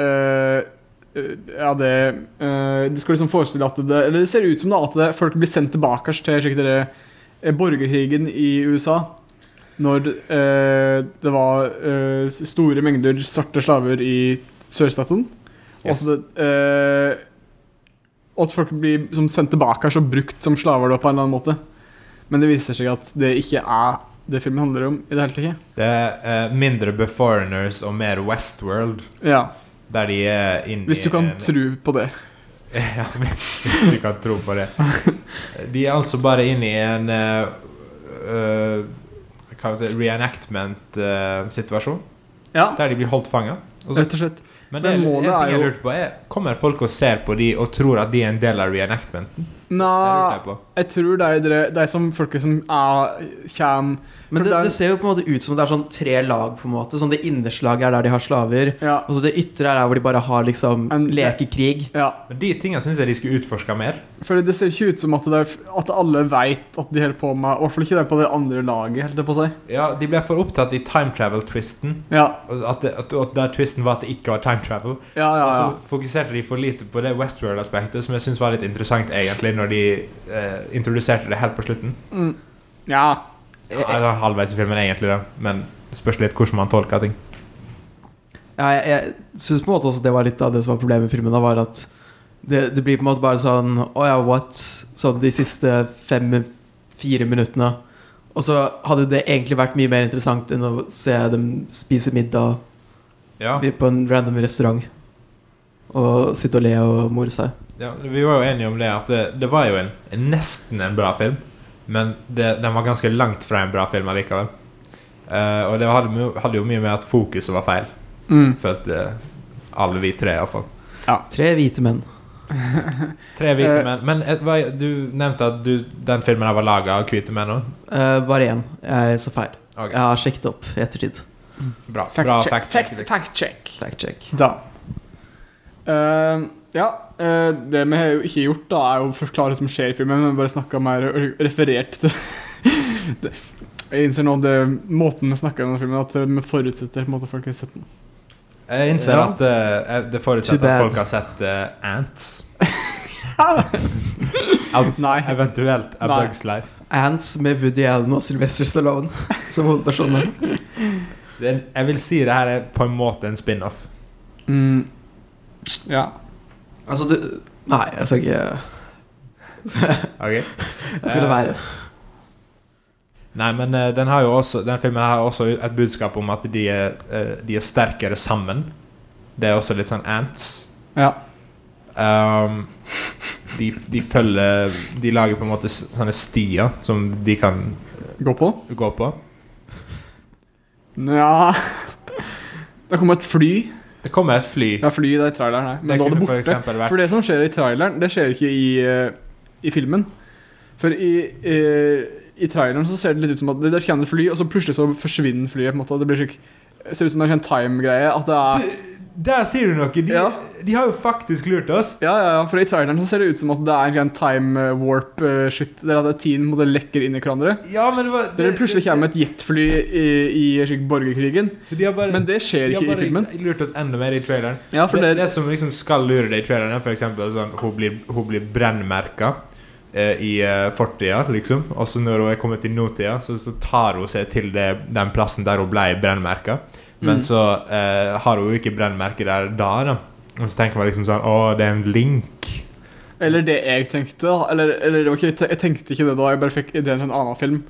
S1: eh, eh, Ja, det eh, Det skal liksom forestille at det Eller det ser ut som da at det, folk blir sendt tilbake til slik dere eh, borgerkrigen i USA. Når eh, det var eh, s- store mengder svarte slaver i sørstaten. Og
S3: Yes.
S1: så, eh, og at folk blir som sendt tilbake her så brukt som slaver da, på en eller annen måte. Men det viser seg at det ikke er det filmen handler om i det hele tatt.
S3: Det er eh, mindre Beforeigners og mer Westworld,
S1: Ja,
S3: der de er inni
S1: hvis du kan
S3: en-
S1: tro på det.
S3: Ja, men hvis du kan tro på det. De er altså bare inne i en eh, eh, hva skal vi si, reenactment-situasjon,
S1: Ja,
S3: der de blir holdt fanget. Og så-
S1: rett og slett.
S3: Men det
S1: Men
S3: er en
S1: målet
S3: ting
S1: er
S3: jeg
S1: jo-
S3: lurte på, er kommer folk og ser på de og tror at de er en del av reenactmenten? Det lurte
S1: Nei,
S3: jeg på.
S1: jeg tror det er dere, det er som folket som er, kjem For
S2: Men det,
S1: det er-
S2: det ser jo på en måte ut som det er sånn tre lag. på en måte Sånn Det innerslaget er der de har slaver.
S1: Ja.
S2: Og så det ytre er der hvor de bare har liksom
S1: En-
S2: lekekrig.
S1: ja.
S3: Men de tingene syns jeg de skulle utforska mer.
S1: For det ser ikke ut som at, det er, at alle veit at de holder på med I hvert fall ikke det på det andre laget, holdt jeg på å si.
S3: Ja, De ble for opptatt i time travel-twisten.
S1: Ja,
S3: At, det- at, at der twisten var at det ikke var time travel.
S1: ja, ja.
S3: Og
S1: ja.
S3: så fokuserte de for lite på det Westworld-aspektet, som jeg syns var litt interessant, egentlig, når de eh, introduserte det helt på slutten.
S1: Mm. ja.
S3: Ja, det var halvveis i filmen, egentlig, da. men det spørs litt hvordan man tolker ting.
S2: Ja, jeg jeg syns på en måte også det var litt av det som var problemet med filmen. Da, var at det, det blir på en måte bare sånn Å ja, what? Sånn de siste fem-fire minuttene. Og så hadde det egentlig vært mye mer interessant enn å se dem spise middag
S3: Ja,
S2: på en random restaurant. Og sitte og le og more seg.
S3: ja, Vi var jo enige om det, at det, det var jo en, en nesten en bra film, men det, den var ganske langt fra en bra film allikevel. Eh, og det hadde, mye- hadde jo mye med at fokuset var feil,
S1: Mm.
S3: følte alle vi tre, iallfall.
S2: Tre hvite menn.
S3: Tre hvite
S1: Eh.
S3: menn. Men eh, hva- du nevnte at du, den filmen her var laga av hvite menn òg.
S2: Eh, bare én. Jeg så feil.
S3: Ok.
S2: Jeg har sjekket opp i ettertid.
S3: Bra.
S1: Fact
S3: bra
S1: check.
S3: fact liksom. check.
S1: fact check.
S2: Fact check.
S1: Da. Eh, ja, eh, det vi har jo ikke gjort, da er jo å forklare hva som skjer i filmen, men bare snakka mer og referert til det. Jeg innser nå det måten vi snakker om den filmen, at vi forutsetter på en måte folk har sett den.
S3: Jeg innser
S2: Ja.
S3: at eh, det
S2: Too
S3: forutsetter
S2: bad.
S3: at folk har sett eh, Ants.
S1: Nei.
S3: Eventuelt A
S1: Nei.
S3: Bug's Life.
S2: Ants med Woody Allen og Sylvester Stallone som hovedpersoner.
S3: Det er, en- jeg vil si det her er på en måte en spin-off.
S1: Mm. Ja.
S2: Altså, du Nei, jeg skal ikke
S3: Ok?
S2: Jeg skal la være.
S3: Nei, men eh, den, har jo også, den filmen har også et budskap om at de er, eh, de er sterkere sammen. Det er også litt sånn Ants.
S1: Ja.
S3: Um, de, de følger De lager på en måte s- sånne stier som de kan
S1: Gå på.
S3: gå på.
S1: Nja Det kommer et fly.
S3: Det kommer et fly.
S1: Ja, fly det er i traileren her. Men da
S3: det
S1: er det
S3: kunne for
S1: borte.
S3: eksempel vært
S1: For det som skjer i traileren, det skjer ikke i, eh, i filmen. For i, eh, i traileren så ser det litt ut som at det der kommer et fly, og så plutselig så forsvinner flyet. på en måte Det blir slik, ser ut som det er en time-greie. At det er
S3: Der sier du noe! De,
S1: Ja.
S3: de har jo faktisk lurt oss.
S1: Ja, ja, ja, for i traileren så ser det ut som at det er en time eh, warp-shit. Der at team på en måte lekker inn i hverandre.
S3: Ja, men det var
S1: Der det plutselig kommer et jetfly i, i slik borgerkrigen.
S3: Så de har bare,
S1: Men det skjer
S3: de har
S1: ikke i
S3: bare
S1: filmen.
S3: lurt oss enda mer i traileren.
S1: Ja, for
S3: det,
S1: det,
S3: det som liksom skal lure deg i traileren, er for eksempel sånn Hun blir, hun blir brennmerka eh, i eh, fortida, liksom. Og så når hun er kommet til nåtida, så, så tar hun seg til det, den plassen der hun ble brennmerka.
S1: Mm.
S3: Men så eh, har hun jo ikke brennmerke der da, da. Og så tenker man liksom sånn Å, det er en link.
S1: Eller det jeg tenkte, da. Eller, eller det var ikke, jeg tenkte ikke det da, jeg bare fikk ideen til en annen film.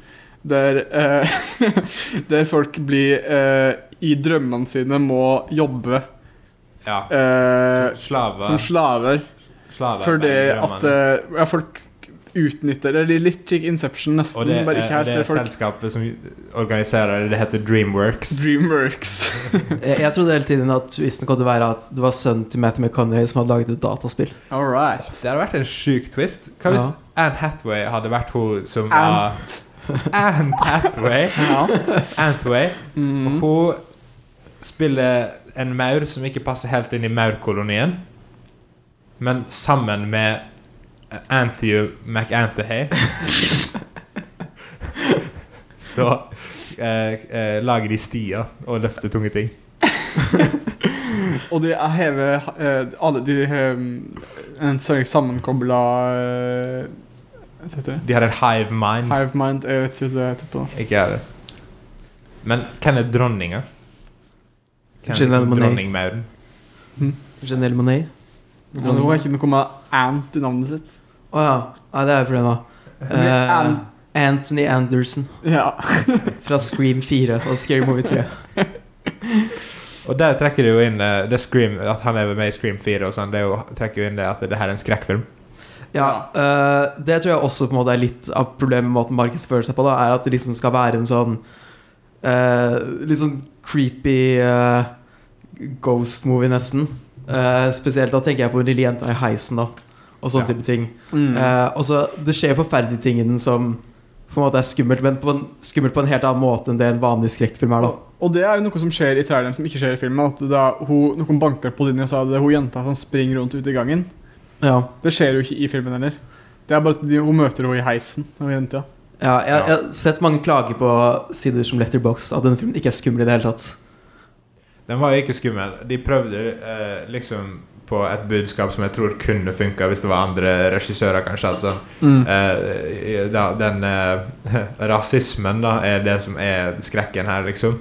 S1: Der, eh, der folk blir eh, i drømmene sine må jobbe
S3: Ja.
S1: eh,
S3: Slaver.
S1: som slaver
S3: slaver
S1: fordi
S3: i drømmene.
S1: at eh, ja, folk utnytter Det er litt slik Inception, nesten.
S3: Og det,
S1: bare
S3: er-
S1: ikke helt.
S3: det
S1: Det
S3: er
S1: er folk
S3: selskapet som organiserer det, det heter Dreamworks.
S1: Dreamworks.
S2: Jeg, jeg trodde hele tiden at twisten kom til å være at det var sønnen til Matthew McConney som hadde laget et dataspill.
S1: All right.
S3: Det hadde vært en sjuk twist. Hva hvis
S2: Ja.
S3: Anne Hathaway hadde vært hun som var Anne Hathaway.
S1: Ja.
S3: Hathaway.
S1: Mm.
S3: Hun spiller en maur som ikke passer helt inn i maurkolonien, men sammen med Anthew McAnthehay Så eh, eh, lager de stier og løfter tunge ting.
S1: Og de er heve eh, Alle de har en sånn sammenkobla Jeg vet ikke.
S3: De hadde en hive mind.
S1: Hive Mind, jeg vet ikke hva det heter på
S3: Ikke jeg det. Men hvem er dronninga? Hvem er
S2: Janelle
S3: liksom
S2: Monáe.
S3: dronningmauren?
S2: Janelle Monet.
S1: norsk. Hun har ikke noe med ant i navnet sitt.
S2: Å ja. Nei, det er jo problemet. Eh,
S1: An-
S2: Anthony Anderson
S1: Ja.
S2: fra Scream 4 og Scary Movie 3.
S3: Og der trekker det jo inn eh, det Scream, at han er med i Scream 4 og sånn. Det er jo, trekker jo inn det at det her er en skrekkfilm.
S2: Ja, eh, Det tror jeg også på en måte er litt av problemet med måten markedsfører seg på. da Er At det liksom skal være en sånn eh, litt sånn creepy eh, ghost movie, nesten. Eh, spesielt da tenker jeg på en lille jenta i heisen da og sånne
S3: Ja.
S2: type ting.
S1: Mm.
S2: Eh, og så Det skjer forferdelige ting i den som på en måte er skummelt, men på en, skummelt på en helt annen måte enn det en vanlig skrekkfilm er. da
S1: Og det er jo noe som skjer i traileren som ikke skjer i filmen. At da hun, noen banker på linja, så er det hun jenta som springer rundt ute i gangen.
S2: Ja,
S1: Det skjer jo ikke i filmen heller. Det er bare at de, Hun møter henne i heisen. Hun jenta.
S2: ja jeg,
S3: Ja.
S2: jeg har sett mange klager på sider som Letterboxd at denne filmen ikke er skummel i det hele tatt.
S3: Den var jo ikke skummel. De prøvde eh, liksom på et budskap som jeg tror kunne funka hvis det var andre regissører, kanskje. Altså.
S1: Mm.
S3: Eh, da, den eh, rasismen da er det som er skrekken her, liksom.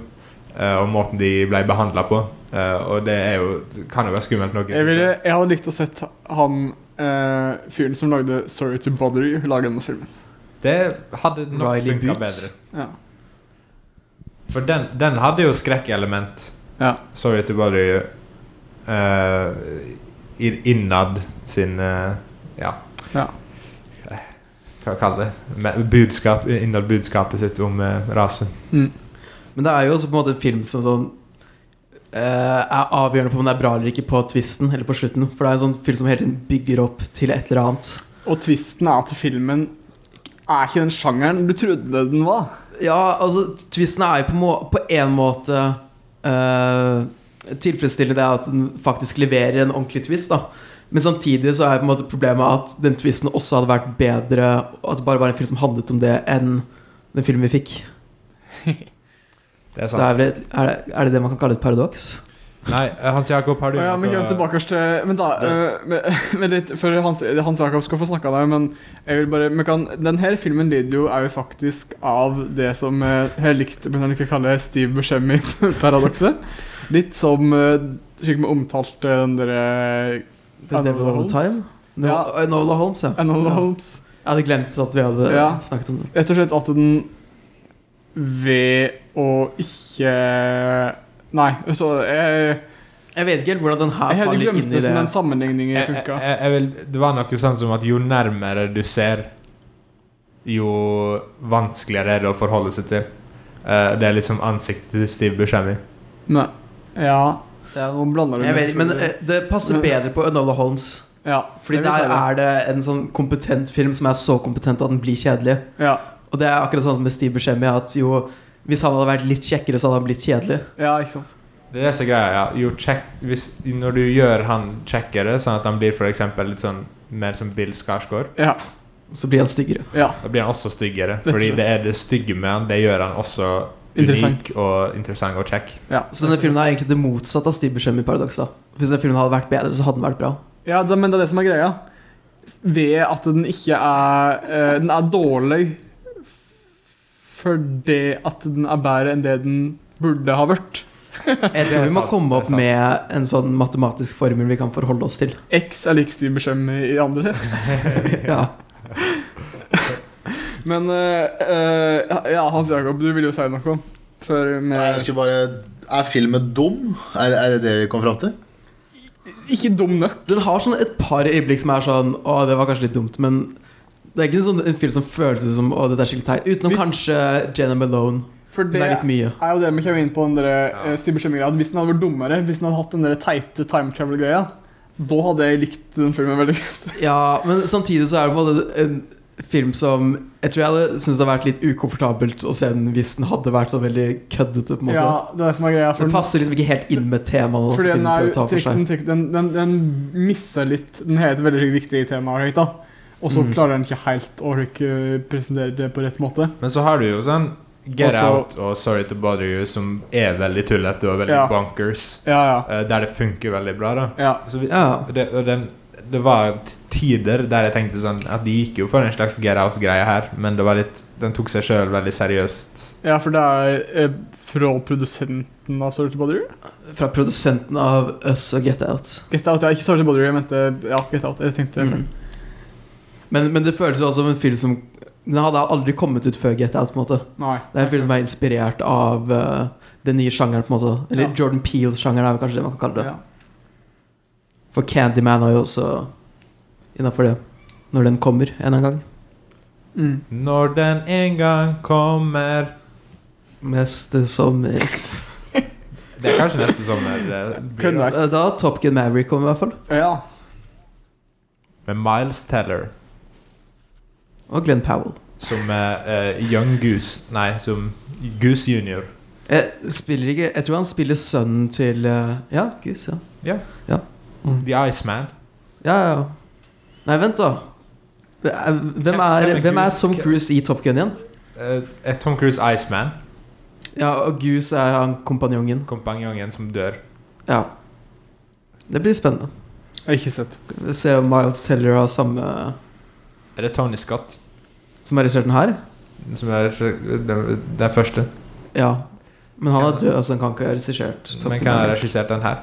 S3: Eh, og måten de ble behandla på. Eh, og det er jo, kan jo være skummelt nok. i
S1: Jeg,
S3: seg
S1: ville,
S3: selv.
S1: jeg hadde likt å sett han eh, fyren som lagde 'Sorry to Bother You', lage denne filmen.
S3: Det hadde nok
S2: Riley
S3: funka
S2: Boots.
S3: bedre.
S1: Ja.
S3: For den, den hadde jo skrekkelement.
S1: Ja.
S3: Sorry to bother you. Eh, i- innad sin eh, Ja.
S1: Ja.
S3: Eh, Hva kaller det? Men Budskap, innad budskapet sitt om eh, rase.
S2: Men det er jo også på en måte en film som sånn eh, er avgjørende på om det er bra eller ikke på twisten eller på slutten. For det er en sånn film som hele tiden bygger opp til et eller annet.
S1: Og twisten er at filmen er ikke den sjangeren du trodde den var.
S2: Ja, altså, twisten er jo på, må på en måte eh, tilfredsstillende det at den faktisk leverer en ordentlig twist, da. Men samtidig så er på en måte problemet at den twisten også hadde vært bedre, og at det bare var en film som handlet om det, enn den filmen vi fikk.
S3: Det er
S2: Så det er,
S3: sant.
S2: vel et, er, det, er det det man kan kalle et paradoks?
S3: Nei, eh, Hans Jakob, har
S1: Å
S3: du
S1: ja, men
S3: noe-
S1: kom tilbake oss til Men da eh, med, med litt, For Hans, Hans Jakob skal få snakka der, men jeg vil bare men kan, Den her filmen lider jo er jo faktisk av det som eh, jeg likte Men jeg liker å kalle Steve Buscemi-paradokset. Litt som eh, slik vi omtalte den derre
S2: The
S1: Enola
S2: Devil All The
S1: Holmes?
S2: Time? No,
S1: Ja.
S2: Enola Holmes, ja.
S1: Enola
S2: Ja.
S1: Holmes.
S2: Jeg hadde glemt at vi hadde
S1: Ja.
S2: snakket om det.
S1: Rett og slett at den ved å ikke Nei, så jeg,
S2: Jeg vet ikke helt hvordan den her
S1: jeg helt
S2: faller inn i
S1: glemte
S2: det.
S1: hvordan den sammenligningen
S3: jeg,
S1: funka.
S3: jeg, jeg vil, Det var noe sånn som at jo nærmere du ser, jo vanskeligere er det å forholde seg til. Eh, det er liksom ansiktet til Steve Buscemi.
S1: Nei. Ja. ja Nå blander du
S2: Jeg vet,
S1: med-
S2: ikke, men eh, det passer
S1: Men-
S2: bedre på Enola Holmes.
S1: ja,
S2: Fordi
S1: jeg vil si
S2: der
S1: det.
S2: er det en sånn kompetent film som er så kompetent at den blir kjedelig.
S1: Ja,
S2: Og det er akkurat sånn som med Steve Buscemi, at jo hvis han hadde vært litt kjekkere, så hadde han blitt kjedelig.
S1: ja ikke sant.
S3: Det er det som er greia. Ja. Jo check, hvis, når du gjør han kjekkere, sånn at han blir for eksempel litt sånn mer som Bill Skarsgård,
S1: Ja.
S2: Så blir han styggere.
S1: ja.
S3: da blir han også styggere.
S1: og
S3: Fordi
S1: slett.
S3: det er det stygge med han, det gjør han også
S1: Interessant.
S3: unik og interessant og kjekk.
S1: ja.
S2: Så denne filmen er egentlig det motsatte av Steve Buscemi-paradoks. da Hvis denne filmen hadde vært bedre, så hadde den vært bra.
S1: ja det, men det er det som er greia. Ved at den ikke er eh, Den er dårlig fordi at den er bedre enn det den burde ha vært.
S2: Jeg
S3: Det er
S2: tror vi må
S3: sant, det
S2: komme
S3: er
S2: opp
S3: sant.
S2: med en sånn matematisk formel vi kan forholde oss til.
S1: X er lik Steve Buscemi i andre.
S2: Ja
S1: Men eh, eh, Ja, Hans Jakob, du ville jo si noe om før
S4: Nei, jeg
S1: med
S4: skulle bare Er filmen dum? Er, er det det vi kom fram til?
S1: Ikke dum nok.
S2: Den har sånn et par øyeblikk som er sånn Å, det var kanskje litt dumt, men det er ikke en sånn en film som føles ut som Å, dette er skikkelig teit. Utenom
S1: Hvis-
S2: kanskje Jenna Malone.
S1: For
S2: Det
S1: det
S2: er litt mye.
S1: er jo det vi kommer inn på. Den der,
S3: Ja.
S1: eh, Steve Buscemi-greia. Hvis den hadde vært dummere, hvis den hadde hatt den der teite time travel-greia, da hadde jeg likt den filmen veldig godt.
S2: Ja, men samtidig så er det på en måte en film som Jeg tror jeg hadde syntes det hadde vært litt ukomfortabelt å se den hvis den hadde vært så veldig køddete. på en måte
S1: Ja, det er det som er greia.
S2: Den
S1: For den,
S2: passer liksom ikke helt inn med temaet.
S1: for
S2: som
S1: den,
S2: filmen
S1: er,
S2: prøver å ta for seg.
S1: den, den, den, den misser litt Den har et veldig viktig tema. right, da. Og så
S2: Mm.
S1: klarer den ikke helt å ikke presentere det på rett måte.
S3: Men så har du jo sånn Get
S1: Også-
S3: Out og Sorry to Bother You, som er veldig tullete og veldig
S1: Ja.
S3: bonkers.
S1: Ja, ja.
S3: eh, der det funker veldig bra, da.
S1: ja.
S3: Så vi,
S2: Ja.
S3: og det, og den, det var t- tider der jeg tenkte sånn at de gikk jo for en slags get out-greie her, men det var litt den tok seg sjøl veldig seriøst.
S1: Ja, for det er eh, fra produsenten av Sorted Body
S2: Fra produsenten av Us og Get Out.
S1: Get Out, ja. Ikke Sorted Body jeg mente ja, Get Out. Jeg tenkte
S2: Mm. Men, men det føles jo også som en film som Den hadde aldri kommet ut før Get Out. på en måte
S1: Nei.
S2: Det er en film som er inspirert av eh, den nye sjangeren. på en måte Eller
S1: Ja.
S2: Jordan Peel-sjangeren er vel kanskje det man kan kalle det.
S1: Ja.
S2: For Candyman er jo også innafor det. Når den kommer en eller annen gang.
S1: Mm.
S3: Når den en gang kommer
S2: Neste sommer
S3: Det er kanskje neste sommer. det blir
S1: Kunne
S3: jo.
S1: vært.
S2: Eh, Da Top Gun Maverick kommer, i hvert fall.
S1: ja.
S3: Med Miles Teller
S2: Og Glenn Powell.
S3: som eh, eh, Young Goose Nei, som Goose Junior.
S2: Jeg spiller ikke Jeg tror han spiller sønnen til eh, Ja, Gus, ja.
S3: The Iceman.
S2: Ja, ja, ja. Nei, vent, da. Det er- Hvem er,
S3: Kevin
S2: hvem er
S3: Goose-
S2: Tom Cruise i Top Gun igjen?
S3: Eh, eh, Tom Cruise Iceman.
S2: Ja, og Goose er han kompanjongen.
S3: Kompanjongen som dør.
S2: Ja. Det blir spennende.
S1: Jeg har ikke sett.
S2: Vi ser om Miles Teller har samme
S3: Er det Tony Scott
S2: som har regissert den her.
S3: som er den, den første?
S2: Ja. Men han er død, så han kan ikke ha regissert. Top
S3: Men
S2: Gun
S3: kan ha
S2: Maverick.
S3: regissert den her?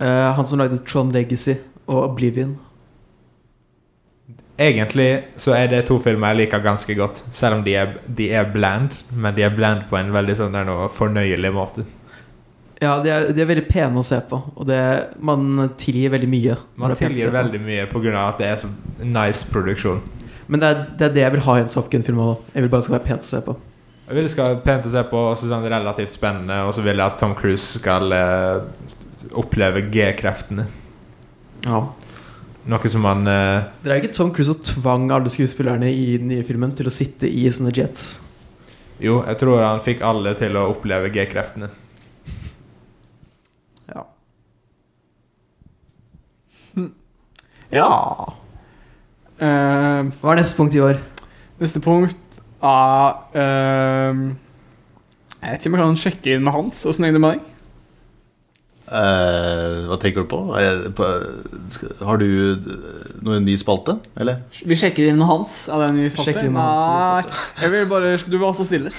S2: Eh, han som lagde Tron Legacy og Oblivion.
S3: Egentlig så er det to filmer jeg liker ganske godt, selv om de er, de er bland. Men de er bland på en veldig sånn der nå fornøyelig måte.
S2: Ja, de er, de er veldig pene å se på, og det, man tilgir veldig mye. når
S3: Man
S2: det er pent å se
S3: tilgir
S2: på.
S3: veldig mye pga. at det er så nice produksjon.
S2: Men det er, det er det jeg vil ha i en Top Gun-film òg. Jeg vil bare det skal være pent å se på.
S3: Jeg vil det skal være pent å se på, og så sånn relativt spennende, og så vil jeg at Tom Cruise skal eh, oppleve G-kreftene.
S2: Ja.
S3: Noe som han eh,
S2: Det er jo ikke Tom Cruise som tvang alle skuespillerne i den nye filmen til å sitte i sånne jets.
S3: Jo, jeg tror han fikk alle til å oppleve G-kreftene.
S2: Ja.
S4: Ja.
S1: Eh,
S2: Hva er neste punkt i år?
S1: neste punkt er eh, Jeg vet ikke om jeg kan sjekke inn med Hans. Åssen gikk det med deg?
S4: Eh, hva tenker du på? Eh, på skal, har du eh, noe ny spalte, eller?
S1: Vi sjekker inn med Hans. Er det en ny spalte?
S2: Sjekker inn med Hans, det er
S1: Nei, jeg vil bare Du var så stille.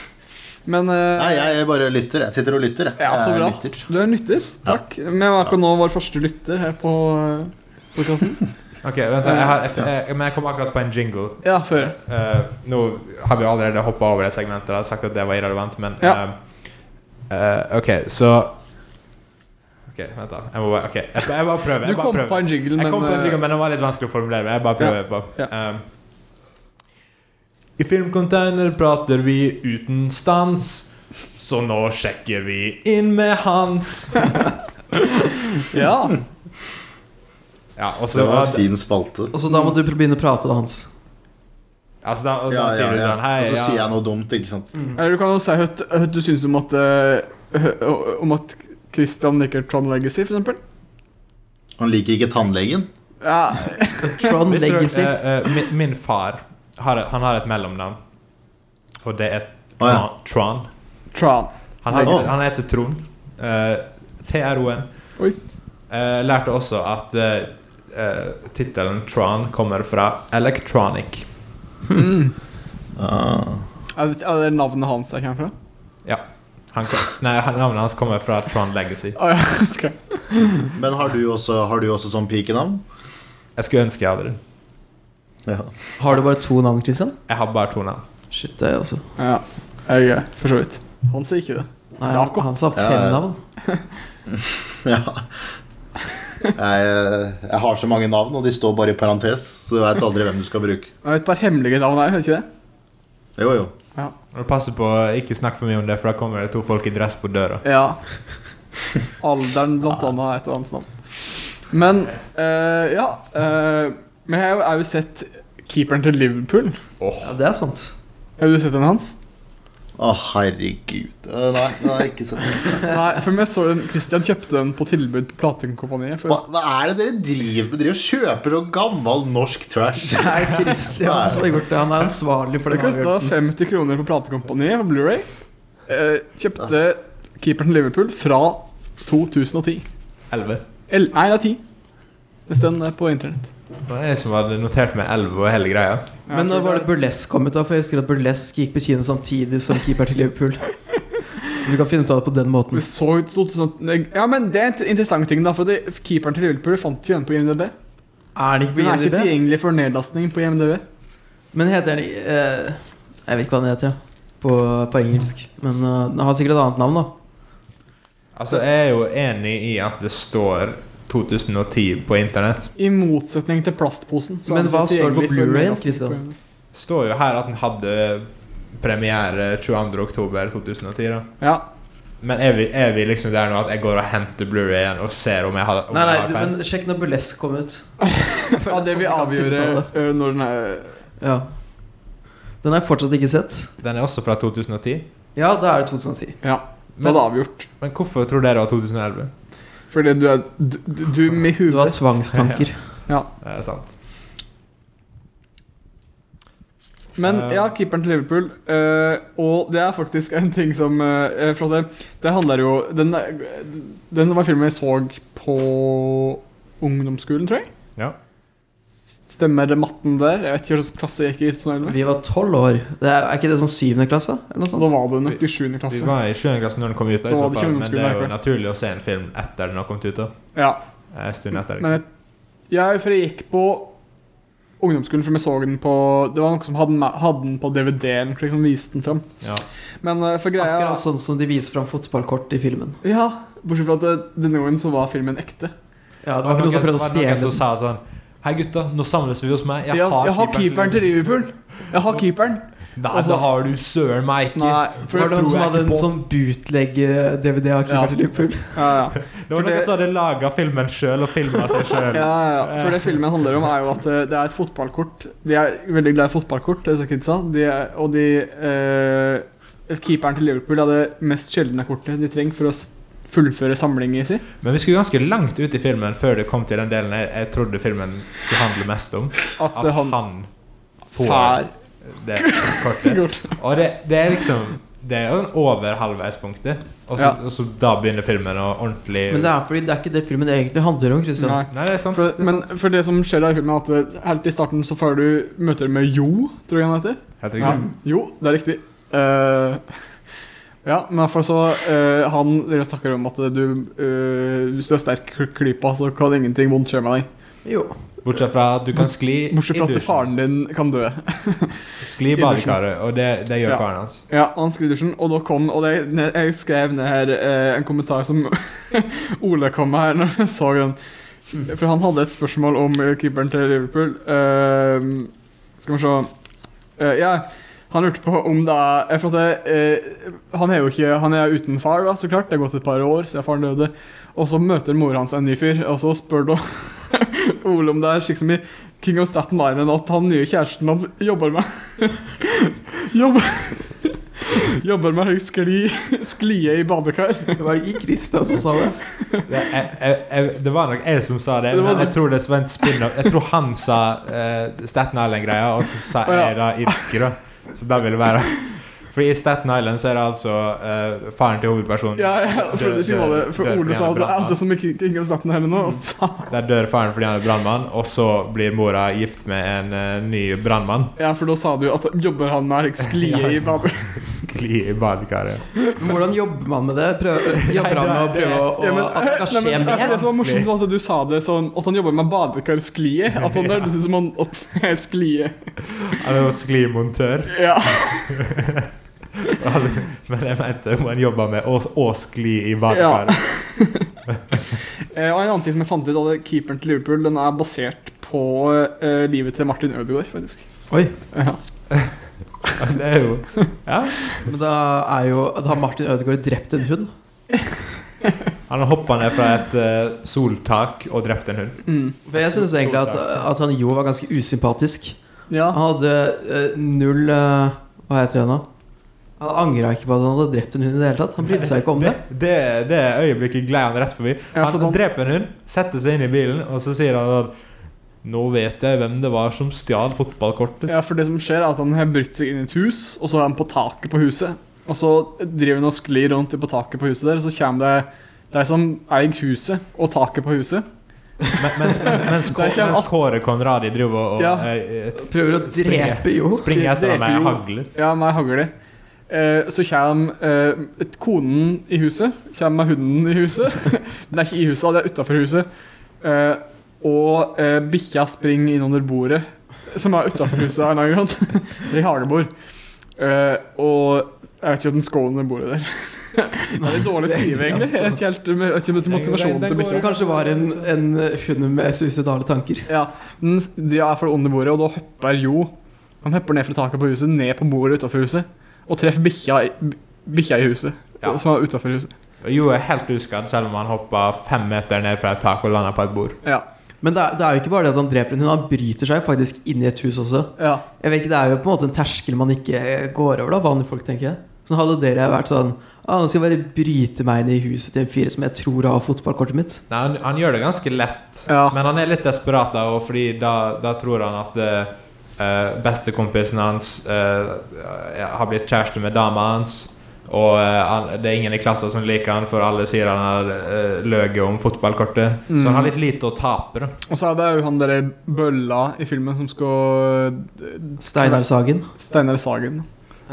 S1: Men eh,
S4: Nei, jeg, jeg bare lytter. Jeg sitter og lytter. Jeg,
S1: Ja, så
S4: jeg
S1: bra.
S4: lytter.
S1: Du er en lytter. Takk. Vi er akkurat nå vår første lytter her på eh, podkasten.
S3: Ok, vent, jeg, har, jeg, jeg, men jeg kom akkurat på en jingle.
S1: Ja, før.
S3: Eh, nå har vi allerede hoppa over det segmentet og sagt at det var irrelevant, men
S1: Ja.
S3: eh, eh, OK, så OK, vent, da. Jeg må bare, ok, jeg, jeg bare prøver.
S1: Du
S3: Jeg bare
S1: kom
S3: prøver.
S1: på en jingle, men
S3: Jeg kom på en
S1: eh,
S3: jingle, men den var litt vanskelig å formulere. Jeg bare prøver på
S1: Ja.
S3: Um, I Filmcontainer prater vi uten stans, så nå sjekker vi inn med Hans.
S1: Ja.
S3: Ja, og så
S4: Det var en
S3: altså,
S4: fin spalte.
S2: Og så da må du begynne å prate, da, Hans.
S3: da, og da
S4: Ja, ja,
S3: sier du
S4: ja.
S3: sånn Hei,
S4: Og så
S3: ja.
S4: sier jeg noe dumt, ikke sant.
S1: Eller du kan jo si hva hva du syns om at eh, hø- Om at Christian liker Trond Legacy, for eksempel.
S4: Han liker ikke tannlegen.
S1: Ja.
S2: Tron
S3: Hvis du-
S2: Legacy.
S3: eh, eh, min, min far har, et- han har et mellomnavn, og det er
S4: Å, ja.
S3: Tron. Tron.
S1: Tron.
S3: Han, heter,
S4: Å.
S3: han heter Trond. eh, T-R-O-N.
S1: Oi.
S3: Eh, lærte også at uh, tittelen Tron kommer fra Electronic.
S4: Ah.
S1: Er det, er det navnet hans jeg kommer fra?
S3: Han kom, nei, han- navnet hans kommer fra Tron Legacy.
S1: Å ja, ok.
S4: Men har du også, har du også sånn pikenavn?
S3: Jeg skulle ønske jeg hadde det.
S4: Ja.
S2: Har du bare to navn, Christian?
S3: Jeg har bare to navn.
S2: Shit, det er jeg også.
S1: Ja, jeg er for så vidt. Han sier ikke det.
S2: Nei, han,
S1: Jakob.
S2: han sa fem
S4: Ja, ja.
S2: navn.
S4: ja. Jeg, jeg har så mange navn, og de står bare i parentes, så du veit aldri hvem du skal bruke.
S1: Det er et par hemmelige navn her, hører ikke det?
S4: Jo, jo.
S3: Og Pass på, ikke snakk for mye om det, for da kommer det to folk i dress på døra.
S1: Ja. Alderen, blant annet, er et av hans navn. Men eh, ja eh, Men jeg har jo sett keeperen til Liverpool.
S2: Ja, det er sant.
S1: Har du sett den hans?
S4: Å, herregud. Eh, Nei, det har jeg ikke sett.
S1: Nei, for jeg så den Christian kjøpte den på tilbud på Platinkompaniet.
S4: Hva,
S1: For,
S4: hva er det dere driver med? Dere kjøper sånn gammel norsk trash.
S2: Det er Christian som har gjort det. Han er ansvarlig for
S1: det
S2: den
S1: kosta
S2: avgjørelsen.
S1: 50 kroner på Platekompaniet på Blu-ray Eh, kjøpte keeperen til Liverpool fra 2010.
S3: Elleve.
S1: El, nei, det er 10. Det står på internett.
S3: Det var jeg som hadde notert meg elv og hele greia.
S2: Men når var det burlesk kom ut, da? For jeg husker at burlesk gikk på kino samtidig som keeper til Liverpool. Så vi kan finne ut av det på den måten.
S1: Det så ut som 2000 Ja, men det er en interessant ting, da. For det, keeperen til Liverpool fant vi igjen på IMDb.
S2: Er den ikke på
S1: Den er ikke
S2: IMDb?
S1: tilgjengelig for nedlastning på IMDb.
S2: Men heter den eh, Jeg vet ikke hva den heter ja. på, på engelsk. Men eh, den har sikkert et annet navn, da.
S3: Altså, jeg er jo enig i at det står 2010 på internett.
S1: I motsetning til plastposen. så er
S2: Men
S1: den
S2: hva
S1: ikke
S2: står det på
S1: tilgjengelig for
S2: Blu-rayen,
S1: nedlastning
S2: Christian?
S1: på IMDb.
S3: Det står jo her at den hadde premiere 22.10.2010, da.
S1: Ja.
S3: Men er vi, er vi liksom der nå at jeg går og henter Blu-rayen og ser om jeg har, om
S2: Nei, nei,
S3: jeg har
S2: du,
S3: feil?
S2: men sjekk når burlesk kom ut.
S1: ja, det vil avgjøre ø, når den er
S2: Ja. Den har jeg fortsatt ikke sett.
S3: Den er også fra 2010.
S2: Ja, da er det 2010.
S1: Ja, da er
S3: Men,
S1: det avgjort.
S3: men hvorfor tror dere det var 2011?
S1: Fordi du er Du, du med
S2: Du har
S1: huet
S2: tvangstanker.
S3: Det er sant.
S1: Men
S3: Eh.
S1: ja, keeperen til Liverpool. eh, og det er faktisk en ting som eh, For det, det handler jo den, den var filmen jeg så på ungdomsskolen, tror jeg.
S3: Ja.
S1: Stemmer det matten der? Jeg vet ikke hva slags klasse jeg gikk i. sånn 2011.
S2: Vi var tolv år. Det er, er ikke det sånn syvende klasse? Eller noe
S1: Da
S2: sånt?
S1: var det nok i 7.
S3: Vi
S1: klasse.
S3: var i 7. klasse når den kom ut,
S1: Da
S3: da, i så
S1: var det
S3: fall,
S1: ikke
S3: men det er jo
S1: ungdomsskolen,
S3: naturlig å se en film etter den har kommet ut. da
S1: Ja,
S3: En stund etter.
S1: men jeg, jeg, for jeg gikk på ungdomsskolen før jeg så den på Det var noen som hadde den, med- hadde den på DVD-en, slik som viste den fram.
S3: liksom. Ja.
S1: Men eh, for greia
S2: Akkurat sånn som de viser fram fotballkort i filmen.
S1: Ja, bortsett fra at det, denne gangen så var filmen ekte.
S2: Ja, det var ikke noen som prøvde å
S3: var det
S2: stjele
S3: noen som
S2: den.
S3: sa sånn Hei, gutta, nå samles vi hos meg.
S1: Jeg, har, jeg har keeperen til Liverpool. Jeg har keeperen.
S3: Nei, da har du søren meg ikke.
S1: Nei, for
S2: Var det
S3: tror
S2: noen som
S3: jeg
S2: hadde
S3: ikke
S2: en
S3: på.
S2: sånn eh, bootleg-DVD av
S1: Ja.
S2: keeper til Liverpool?
S1: ja, ja.
S3: Det var
S1: for
S3: noen
S1: det-
S3: som hadde laga filmen sjøl og filma seg
S1: Ja,
S3: sjøl.
S1: ja, ja. For det filmen handler om, er jo at eh, det er et fotballkort. De er veldig glad i fotballkort, disse kidsa. De er, og de eh, Keeperen til Liverpool er det mest sjeldne kortet de trenger for å s- fullføre samlingen sin.
S3: Men vi skulle ganske langt ut i filmen før det kom til den delen jeg, jeg trodde filmen skulle handle mest om.
S1: At
S3: At
S1: eh, han
S3: han får
S1: fær
S3: det kortet.
S1: kort.
S3: Og det, det er liksom Det er jo en over halvveispunktet, og, så-
S1: Ja.
S3: og så da begynner filmen å ordentlig
S2: Men det er fordi det er ikke det filmen egentlig handler om. Christian
S1: Nei.
S3: Nei, det er sant.
S1: For,
S3: det er
S1: men
S3: sant.
S1: for det som skjer da i filmen, er at eh, helt i starten så får du møter med Jo, tror jeg han heter.
S3: Helt
S2: Mm.
S1: Ja.
S3: riktig.
S1: Jo, det er riktig. Eh, ja, men i hvert fall så eh, Han dere snakker om at du eh, hvis du er sterk i klypa, så kan ingenting vondt skje med deg.
S2: Jo.
S3: Bortsett fra at du kan skli
S1: Bortsett fra
S3: i
S1: at
S3: dusjen.
S1: faren din kan dø.
S3: Skli i badekaret, og det, det gjør
S1: Ja.
S3: faren hans.
S1: Ja, han skrev i dusjen, og da kom Og det, ne- jeg skrev ned her eh, en kommentar som Ole kom med her når jeg så den. For han hadde et spørsmål om eh, keeperen til Liverpool. Eh, skal vi se Eh, Ja, han lurte på om det er eh, For at det, eh, han er jo ikke Han er uten far, da, så klart. Det er gått et par år siden faren døde. Og så møter mora hans en ny fyr, og så spør da Ole om det er slik som i King of Staten Island at han nye kjæresten hans jobber med Jobber Jobber med skli, sklie i badekar.
S2: Det var ikke Christian som sa det.
S3: Det, jeg, jeg, jeg, det var nok jeg som sa det,
S1: Det var
S3: men
S1: det.
S3: jeg tror det var en spin-off. Jeg tror han sa eh, Staten Island-greia, og så sa
S1: Å, ja.
S3: jeg da Irke, da. Så da vil det være Fordi i Staten Island så er det altså eh, faren til hovedpersonen
S1: Ja, ja, for
S3: dør-
S1: det ikke var
S3: dør-
S1: det. For
S3: dør fordi
S1: Ole
S3: han
S1: sa at
S3: er
S1: det er
S3: brandmann.
S1: det som ikke King of Staten Island nå. Og sa
S3: Der dør faren fordi han er brannmann, og så blir mora gift med en eh, ny brannmann.
S1: Ja, for da sa du at jobber han med like, sklie i badekar.
S3: Skli i badekaret.
S2: Men hvordan jobber man med det? Prøv, jobber han med å prøve å,
S1: Ja, men-
S2: å- at det
S1: Nei,
S2: skal skje
S1: men, sånn-
S2: mer?
S1: det som var morsomt, var at du sa det sånn at han jobber med badekarsklie. At han hørtes ut som han at det er sklie.
S3: Han er jo sklimontør.
S1: Ja.
S3: Men jeg mente om han jobba med å, å skli i badekaret.
S1: Eh, Og en annen ting som jeg fant ut, at keeperen til Liverpool Den er basert på eh, livet til Martin Ødegaard, faktisk.
S2: Oi,
S1: Ja.
S3: Det er jo Ja.
S2: men da er jo Da har Martin Ødegaard drept en hund.
S3: Han har hoppa ned fra et eh, soltak og drept en hund.
S1: Mm.
S2: For jeg syns egentlig at, at han Jo var ganske usympatisk.
S1: ja.
S2: Han hadde eh, null eh, Hva heter det nå? Han angra ikke på at han hadde drept en hund i det hele tatt. Han brydde seg ikke om det.
S3: Det, det, det øyeblikket glei han rett forbi.
S1: Ja, for
S3: Han
S1: han-
S3: dreper en hund, setter seg inn i bilen, og så sier han at Nå vet jeg hvem det var som stjal fotballkortet.
S1: Ja, for det som skjer er at han har brutt seg inn i et hus, og så er han på taket på huset. Og så driver han og sklir rundt på taket på huset der, og så kommer det de som eier huset og taket på huset.
S3: Men- Mens, mens, mens, Kå-
S1: Det er ikke
S3: mens
S1: alt.
S3: Kåre Konradi driver og, og
S1: Ja.
S3: eh, eh,
S2: Prøver å
S3: Springe.
S2: drepe jo.
S3: springer etter
S1: Dreper
S3: ham med
S1: jo.
S3: hagler.
S1: Ja, meg hagler det. Eh, så kommer eh, et- konen i huset. Kommer med hunden i huset. Den er ikke i huset, det er utafor huset. Eh, og eh, bikkja springer inn under bordet, som er utafor huset. av en eller annen grunn. Det er i hagebord. Eh, og jeg vet ikke om den skål under bordet der. det er litt dårlig skrive, egentlig. Jeg vet ikke helt jeg vet ikke om det er motivasjonen til bikkja.
S2: Kanskje var en, en hund med suicidale tanker.
S1: Ja, den, s- de er for under bordet, og da hopper Jo Han hopper ned fra taket på huset, ned på bordet utafor huset, og treffer bikkja, i- b- bikkja i huset.
S3: Ja.
S1: Som er utafor huset.
S3: Og Jo er helt uskadd, selv om han hoppa fem meter ned fra et tak og landa på et bord.
S1: Ja.
S2: Men det er, det er jo ikke bare det at han dreper en hund, han bryter seg jo faktisk inn i et hus også.
S1: ja.
S2: Jeg vet ikke, Det er jo på en måte en terskel man ikke eh, går over, da, vanlige folk, tenker jeg. Sånn Hadde dere vært sånn ah, 'Nå skal jeg bare bryte meg inn i huset til en fyr som jeg tror har fotballkortet mitt'.
S3: Nei, han, han gjør det ganske lett,
S1: Ja.
S3: men han er litt desperat da, og fordi da, da tror han at eh, eh, bestekompisen hans eh, har blitt kjæreste med dama hans, og eh, han, det er ingen i klassen som liker han, for alle sier han har uh, løyet om fotballkortet. Så han har litt lite å tape, da.
S1: Og så er det jo han derre bølla i filmen som skal d-
S2: Steinar Sagen.
S1: Steinar Sagen.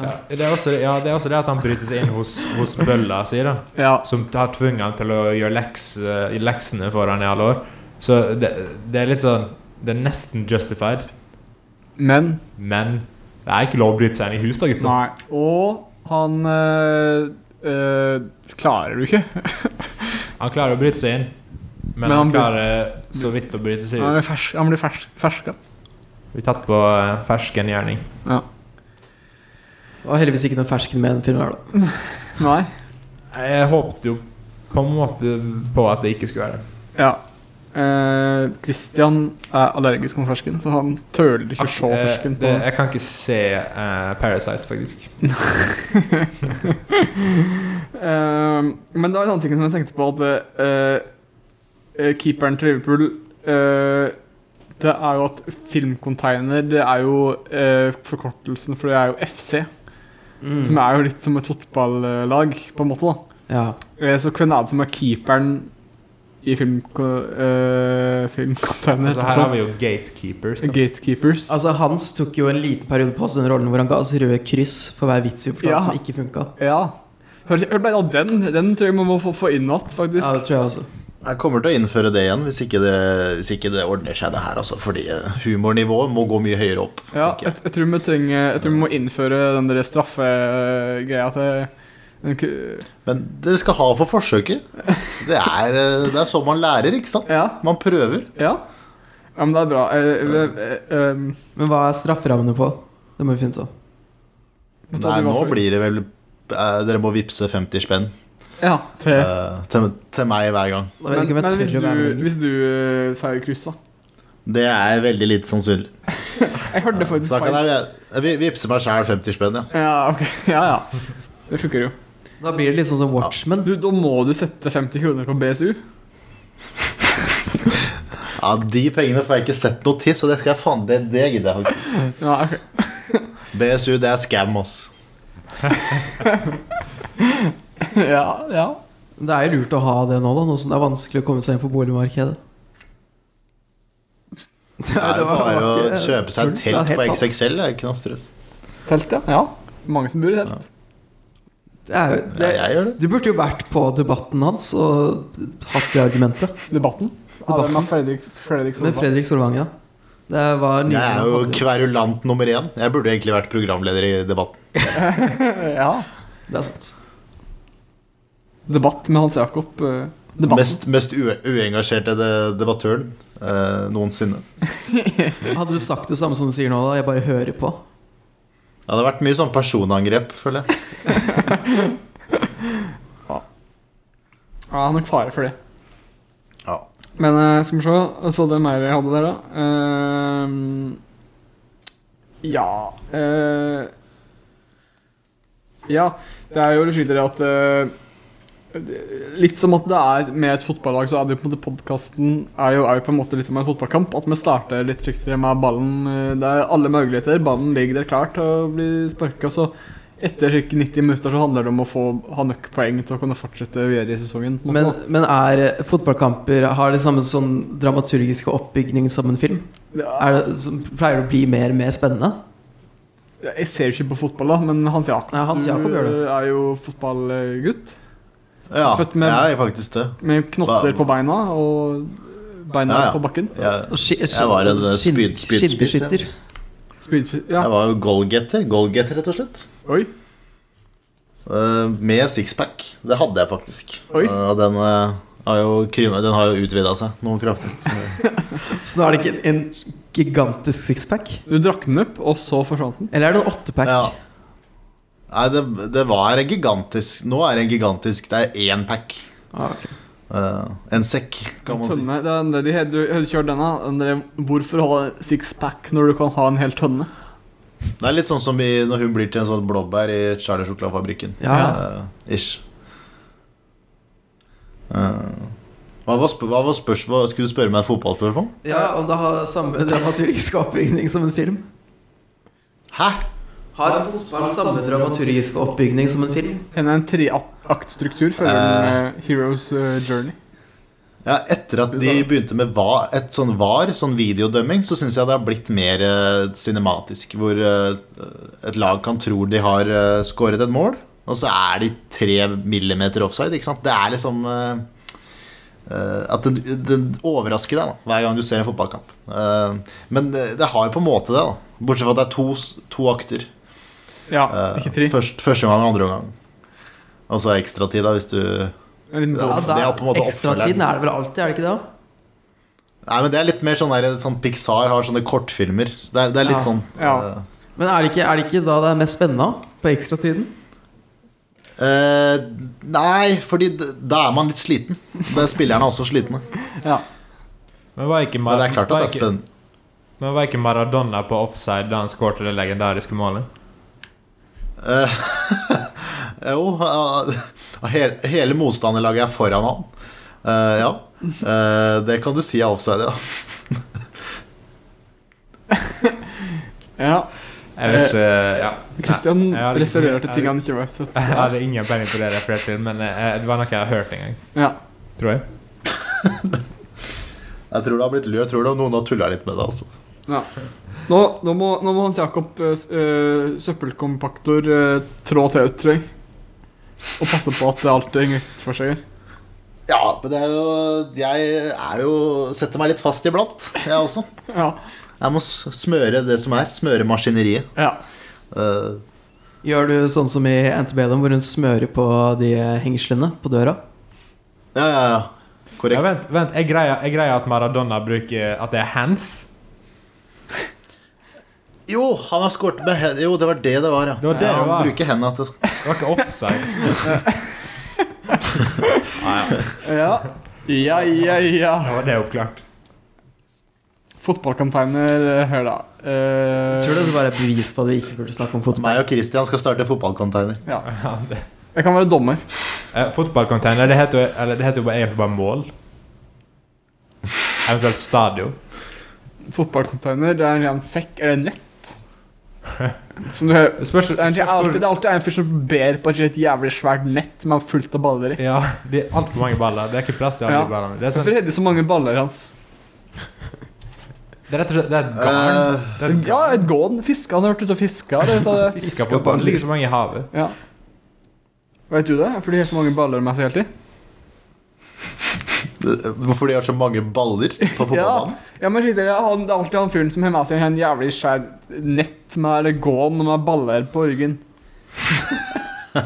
S3: Ja, det, er også, ja, det er også det at han bryter seg inn hos, hos bølla si, da.
S1: Ja.
S3: som har tvunget han til å gjøre leks, eh, leksene for han i alle år. Så det, det er litt sånn Det er nesten justified,
S1: Men
S3: men det er ikke lov å bryte seg inn i hus, da, gutter.
S1: Nei. Og han øh, øh, klarer du ikke.
S3: Han klarer å bryte seg inn, men,
S1: Men
S3: han,
S1: han bryter-
S3: klarer så vidt å bryte seg
S1: Han blir
S3: ut.
S1: fersk, han blir fersk, ferska.
S3: Vi er tatt på eh, fersken gjerning.
S1: Ja.
S2: Og heldigvis ikke noen fersken med den filmen her, da.
S1: Nei.
S3: Jeg håpet jo på en måte på at det ikke skulle være det.
S1: Ja. Eh, Christian er allergisk mot fersken, så han tøler ikke å se
S3: Eh,
S1: fersken. På.
S3: det, jeg kan ikke se eh, Parasite, faktisk.
S1: Eh, men det var en annen ting som jeg tenkte på, at eh, eh, keeperen til Liverpool eh, Det er jo at filmcontainer Det er jo eh, forkortelsen for det er jo FC,
S3: Mm.
S1: som er jo litt som et fotballag, på en måte. da
S2: Ja.
S1: Eh, Så hvem er det som er keeperen i film, eh, filmcontainer? sånn?
S3: Altså, her har vi jo gatekeepers. Da.
S1: Gatekeepers.
S2: Altså, Hans tok jo en liten periode på seg den rollen hvor han ga oss røde kryss for hver vits vi fortalte
S1: Ja.
S2: som ikke funka.
S1: Ja. Hør, hør bare av den. Den tror jeg man må få, få inn igjen,
S2: Ja,
S1: faktisk.
S2: det tror jeg også.
S4: Jeg kommer til å innføre det igjen hvis ikke det, hvis ikke det ordner seg, det her. Altså, fordi eh, humornivået må gå mye høyere opp.
S1: Ja,
S4: tenker
S1: jeg,
S4: jeg.
S1: jeg, tror vi trenger, jeg tror vi må innføre den der straffegreia til den ku-
S4: Men dere skal ha for forsøket. Det er, eh, det er sånn man lærer, ikke sant?
S1: Ja.
S4: Man prøver.
S1: Ja. ja, men det er bra. Eh, eh, eh, em,
S2: Men hva er strafferammene på? Det må vi finne ut av.
S1: vet du hva
S4: Nei,
S1: det var
S4: nå
S1: for-
S4: blir det vel eh, Dere må vippse 50 spenn
S1: ja, til.
S4: eh, til, til meg hver gang.
S2: Da vet jeg ikke om
S1: men
S2: jeg
S1: hvis
S2: tør å være med
S1: du,
S2: lenger.
S1: hvis du eh, feirer kryss, da
S4: Det er veldig lite sannsynlig.
S1: Jeg hørte det faktisk
S4: Så da kan
S1: feil.
S4: jeg, jeg vi- vippse meg sjæl 50 spenn, ja.
S1: Ja, ok. Ja, ja. Det funker jo.
S2: Da blir det litt sånn som Watchmen.
S1: Du, da må du sette 50 kroner på BSU.
S4: ja. De pengene får jeg ikke sett noe til, så det skal jeg faen Det, det gidder jeg faktisk.
S1: Ja, ok.
S4: BSU, det er scam, ass.
S1: ja, ja.
S2: Det er jo lurt å ha det nå, da, nå som det er vanskelig å komme seg inn på boligmarkedet.
S4: Det er jo
S2: var-
S4: bare å
S2: var ikke-
S4: kjøpe seg
S2: Det er
S4: telt
S2: helt
S4: på
S2: sant.
S4: XXL, det er ikke noe stress.
S1: Telt, ja. ja. Mange som bor i telt.
S2: Det er, jo-
S4: Ja,
S2: det,
S4: jeg gjør det.
S2: du burde jo vært på debatten hans og hatt det argumentet.
S1: Debatten. Ja, det er med Fredrik, Fredrik
S2: Med
S1: Solvang.
S2: Fredrik Solvang, ja. Det var nylig
S4: Jeg er jo
S2: han hadde-
S4: kverulant nummer én. Jeg burde egentlig vært programleder i debatten.
S1: Ja.
S2: Det er sant.
S1: Debatt med Hans Jakob. eh, Debatten.
S4: Mest, mest ue uengasjerte de- debattøren eh, noensinne.
S2: Hadde du sagt det samme som du sier nå, da? Jeg bare hører på.
S4: Det hadde vært mye sånn personangrep, føler jeg.
S1: Ja, han er nok fare for det.
S4: Ja.
S1: Men eh, skal vi se Jeg trodde det mer jeg hadde der, da. Ehm, ja eh, Ja, det er jo litt slik at eh, det- Litt som at det er med et fotballag, så er det jo på en måte podkasten er, jo- er jo på en måte litt som en fotballkamp. At vi starter litt trygt med ballen. eh, Det er alle muligheter. Ballen ligger der klar til å bli sparka, så Etter cirka 90 minutter så handler det om å få, ha nok poeng til å kunne fortsette videre i sesongen. på en måte,
S2: Men, men er eh, fotballkamper Har det samme sånn dramaturgiske oppbygning som en film?
S1: da. Ja,
S2: Er det, som pleier det å bli mer og mer spennende?
S1: Jeg ser ikke på fotball, da, men Hans Jakob,
S2: Ja, Hans Jakob
S1: du
S2: gjør det.
S1: er jo fotballgutt.
S4: Ja,
S1: Født med-
S4: jeg er faktisk det.
S1: Med knotter
S4: Ba-
S1: på beina og beina
S4: Ja, ja.
S1: på bakken.
S4: Jeg,
S2: Og ski-
S4: Jeg var en, eh,
S2: skinn-
S4: spyd- spydspiss, ja.
S2: skinnbeskytter.
S1: Speed, ja.
S4: jeg var jo goalgetter, goalgetter rett og slett.
S1: Oi.
S4: Eh, Med sixpack. Det hadde jeg faktisk.
S1: Oi.
S4: Eh, Og den, eh, har jo krymme, den har jo utvida seg noe kraftig. Så-
S2: Så nå er det ikke en en gigantisk sixpack?
S1: Du drakk den opp, og så forsvant den.
S2: Eller er det en åttepack?
S4: Ja. Nei, det, det var en gigantisk Nå er det en gigantisk Det er én pack.
S2: Ah, ok.
S4: Eh, en sekk, kan man si.
S1: Tønne, det er det de heter, du har kjørt denne. Den der, hvorfor ha sixpack når du kan ha en hel tønne?
S4: Det er litt sånn som i, når hun blir til en sånn blåbær i Charlie Sjokoladefabrikken.
S2: Ja, ja.
S4: Eh, ish. Eh, hva var, sp hva var spørs hva, Skulle du spørre meg et fotballspørsmål?
S2: ja, om det har samme dramaturgiske oppbygning som en film?
S4: Hæ?
S2: Har fotball samme dramaturgiske oppbygning som en film?
S1: En, en treaktstruktur følger den med Heroes eh, Journey.
S4: Ja, etter at de begynte med va, et sånn var, sånn videodømming, så syns jeg det har blitt mer eh, cinematisk. Hvor eh, et lag kan tro de har eh, skåret et mål, og så er de tre millimeter offside. Ikke sant? Det er liksom eh, eh, At det, det overrasker deg da, hver gang du ser en fotballkamp. Eh, men det, det har jo på en måte det, da. Bortsett fra at det er to, s- to akter.
S1: Ja,
S4: Eh,
S1: ikke tre.
S4: først, første gang og andre omgang. Og så ekstratid, da, hvis du
S1: En liten
S4: Ja,
S1: golf.
S4: det er på en måte
S2: Ekstratiden
S4: oppfølgeren.
S2: er det vel alltid, er det ikke det? da?
S4: Nei, men det er litt mer sånn der sånn Pixar har sånne kortfilmer. Det er, det er litt
S2: Ja.
S4: sånn
S1: Ja.
S4: eh,
S2: Men er det ikke, er det ikke da det er mest spennende? På ekstratiden?
S4: eh, Nei, fordi d- da er man litt sliten. Da er spillerne også slitne.
S1: Ja.
S3: Men var ikke, Mar
S4: Men det er klart at
S3: var
S4: det er
S3: ikke,
S4: spennende.
S3: men var ikke Maradona på offside da han skårte det legendariske målet?
S4: Jo, eh, hele, hele motstanderlaget er foran han. Eh, ja. Eh, det kan du si er offside, ja.
S1: ja.
S3: Jeg vet ikke ja.
S1: Eh, Christian
S3: Nei, jeg hadde ikke-
S1: refererer til
S3: jeg
S1: ting
S3: hadde-
S1: han ikke vet. så-
S3: Jeg hadde ingen peiling på det jeg refererte til, men eh, det var noe jeg har hørt en gang.
S1: Ja.
S3: Tror jeg.
S4: Jeg tror det har blitt lø. Jeg tror det, noen har tulla litt med det. Altså.
S1: Ja. Nå, nå, må, nå må Hans Jakob eh, s- eh, søppelkompaktor eh, trå til ut, tror jeg. Og passe på at det alltid henger ut for seg. her.
S4: Ja, men det er jo Jeg er jo setter meg litt fast iblant, jeg også.
S1: Ja.
S4: Jeg må s- smøre det som er. Smøre maskineriet.
S1: ja.
S4: Eh,
S2: Gjør du sånn som i Antebellum, hvor hun smører på de hengslene på døra?
S4: ja, ja, ja. Korrekt.
S3: Ja, vent, vent, jeg greier, jeg greier at Maradona bruker At det er hands.
S4: Jo, han har skåret med hendene. Jo, det var det det var, ja.
S3: Det var det
S4: ja
S3: det
S4: han
S3: var.
S4: bruker hendene til
S3: Det var ikke offside.
S1: Ja, ja, ja. ja.
S3: Da var det oppklart.
S1: Fotballcontainer, eh, hør da. Eh,
S2: Jeg tror det bare er bevis på at vi ikke burde snakke om fotball.
S4: Meg og Christian skal starte fotballcontainer.
S1: ja.
S3: Ja, det.
S1: Jeg kan være dommer.
S3: Eh, Fotballcontainer, det heter jo- eller det heter jo bare- egentlig bare mål. Eventuelt stadion.
S1: Fotballcontainer, det er en ren sekk eller nett. Som du hører
S3: Spørs,
S1: det er,
S3: spørs,
S1: ikke alltid, det er alltid en fyr som ber på et jævlig svært nett med fullt av baller i.
S3: ja, det er altfor mange baller. Det er ikke plass til
S1: Ja.
S3: alle ballene. Det er, sånn,
S1: Hvorfor er det så mange baller hans?
S3: det er rett og slett det er et garn.
S1: Eh,
S3: Det er et
S1: Ja, et gården. Fiske. Han har vært ute og fiska. Det, vet jeg det.
S3: Fisker på baller. Det ligger så mange i havet.
S1: ja. Vet du det? Fordi de har så mange baller med seg hele tiden.
S4: Eh, Hvorfor de har så mange baller på fotballbanen?
S1: Ja, men skit i det, han, det er alltid han fyren som har med seg en jævlig skjær nett med eller gården med baller på ryggen.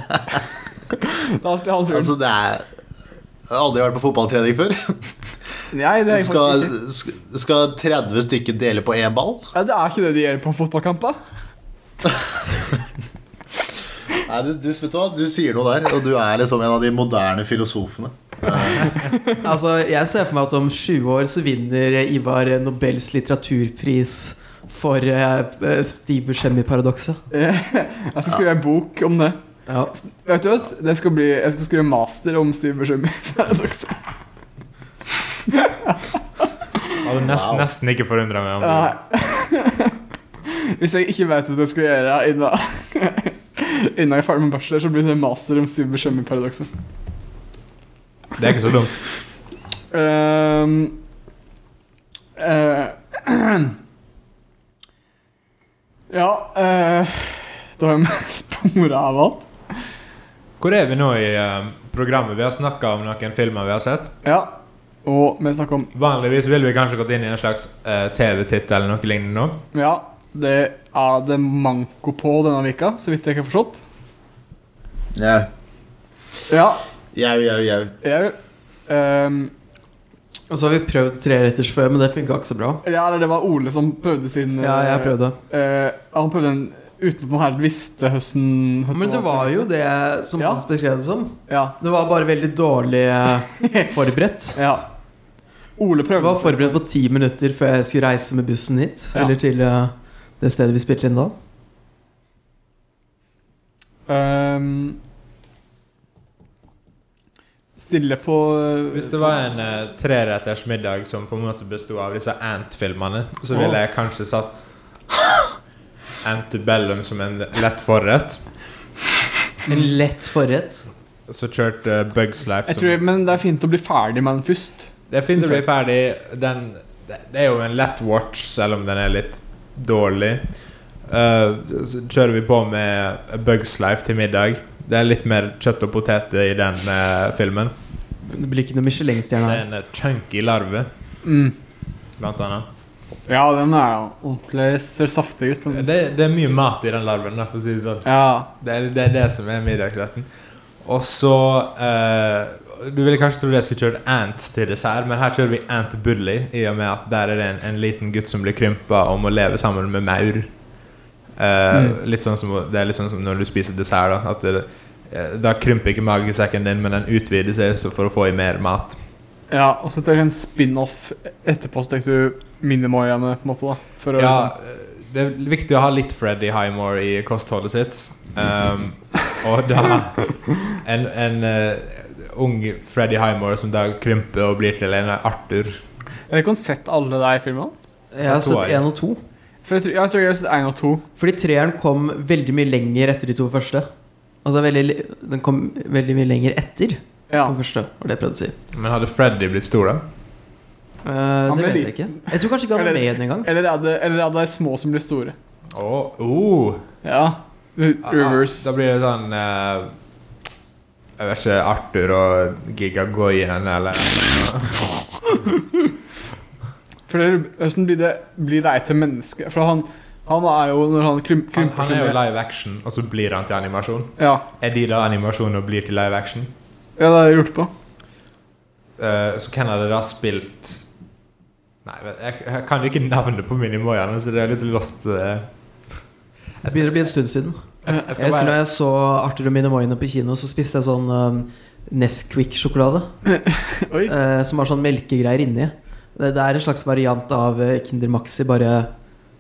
S1: det er alltid han fyren.
S4: Altså, det er Jeg har aldri vært på fotballtrening før.
S1: Nei, det er
S4: Skal,
S1: faktisk ikke.
S4: sk- skal 30 stykker dele på én ball?
S1: Ja, det er ikke det de gjør på fotballkamper.
S4: Nei, du, du, vet du, hva? du sier noe der, og du er liksom en av de moderne filosofene.
S2: Altså, jeg ser for meg at om 20 år så vinner Ivar Nobels litteraturpris for uh, Stiber Shemi-paradokset.
S1: Jeg Eh, altså, skal skrive en bok om det.
S2: Ja.
S1: Vet du hva? Det skal bli, jeg skal skrive master om cyberkjemi-paradokset.
S3: Hadde nesten,
S4: Wow.
S3: Altså, nesten ikke forundra meg om det.
S1: Nei. Hvis jeg ikke vet at jeg skulle gjøre det innen Innen jeg er ferdig med bachelor, så blir det master om Cyber Shemmy-paradokset.
S3: Det er ikke så dumt.
S1: Ehm, eh, ja eh, Da har jeg spora av alt.
S3: Hvor er vi nå i eh, programmet? Vi har snakka om noen filmer vi har sett.
S1: Ja. Og vi snakker om
S3: Vanligvis ville vi kanskje gått inn i en slags eh, TV-tittel eller noe lignende nå.
S1: Ja, det er det manko på denne vika, så vidt jeg ikke har forstått.
S4: Jau,
S1: Ja,
S4: jau, jau, jau.
S1: jeg ehm,
S2: Og så har vi prøvd treretters før, men det funka ikke så bra.
S1: Ja, eller det var Ole som prøvde sin
S2: Ja, jeg prøvde.
S1: eh, Han prøvde en uten at han helt visste høsten
S2: Men det var jo det som
S1: Ja.
S2: Hans beskrev det som.
S1: Ja.
S2: Det var bare veldig dårlig eh, forberedt.
S1: ja. Ole
S2: Jeg
S1: prøvde
S2: var forberedt på ti minutter før jeg skulle reise med bussen hit.
S1: Ja.
S2: Eller til eh, det stedet vi spilte inn da.
S1: Ehm, Stille på eh,
S3: Hvis det var en uh, treretters middag som på en måte bestod av disse Ant-filmene, så ville jeg kanskje satt Antebellum som en lett forrett.
S2: En lett forrett.
S3: Og så kjørt eh, Bugs Life
S1: jeg
S3: som
S1: tror, Men det er fint å bli ferdig med den først.
S3: Det er fint å bli ferdig. Den, det det er jo en lett watch, selv om den er litt dårlig. Eh, så kjører vi på med Bugs Life til middag. Det er litt mer kjøtt og poteter i den eh, filmen.
S2: Det blir ikke noe
S3: Det
S2: Michelin-stjerne
S3: er
S2: her.
S3: en eh, chunky larve, Mm. blant annet.
S1: Ja, den er jo ordentlig ser saftig ut. Den.
S3: Det, det er mye mat i den larven, da, for å si det sånn.
S1: Ja.
S3: Det er det, er det som er middagsretten. Og så eh, Du ville kanskje trodd jeg skulle kjørt ant til dessert, men her kjører vi ant bully, i og med at der er det en, en liten gutt som blir krympa og må leve sammen med maur. Eh, litt sånn som, det er litt sånn som når du spiser dessert, da. At det, eh, da krymper ikke magesekken din, men den utvider seg så for å få i mer mat.
S1: ja og så tar jeg en spin-off etterpå, så tenker du minimoiaene, på en måte. da for å,
S3: Ja,
S1: liksom,
S3: eh, det er viktig å ha litt Freddy Highmore i kostholdet sitt. Um, og da En, en eh, ung Freddy Highmore som da krymper og blir til en Arthur.
S1: Jeg har ikke sett alle de filmene.
S2: Jeg har
S3: Så to
S2: sett
S3: er.
S2: én og to.
S1: For jeg tror, jeg tror jeg har sett én og to.
S2: Fordi treeren kom veldig mye lenger etter de to første. Altså veldig, li- Den kom veldig mye lenger etter
S1: Ja.
S2: den første, var det jeg prøvde å si.
S3: Men hadde Freddy blitt stor, da?
S2: Eh,
S1: Han
S2: det
S1: ble
S2: vet jeg ikke. Jeg tror kanskje ikke han var med i den engang.
S1: Eller er det, eller er det små som blir store?
S3: Oh, oh.
S1: Ja. Reverse.
S3: Da blir det sånn eh, Jeg vet ikke Arthur og Gigagoyen eller
S1: For det, hvordan blir det, blir det et til menneske? For han, han er jo Når han krym-
S3: han,
S1: krymper
S3: han er jo
S1: ned-
S3: live action, og så blir han til animasjon.
S1: ja.
S3: Er de da animasjon og blir til live action?
S1: ja, det har jeg lurt på.
S3: Eh, så hvem hadde da spilt Nei, vet- jeg, jeg kan jo ikke navnet på minimoiaene, så det er litt lost. eh.
S2: Det begynner å bli en stund siden.
S3: Jeg, jeg
S2: Jeg
S3: skal
S2: husker
S3: bare
S2: da jeg så Arthur og Minimoyene på kino, så spiste jeg sånn eh, Nesquik-sjokolade.
S1: Oi.
S2: eh, som har sånn melkegreier inni. Det, det er en slags variant av eh, Kinder Maxi, bare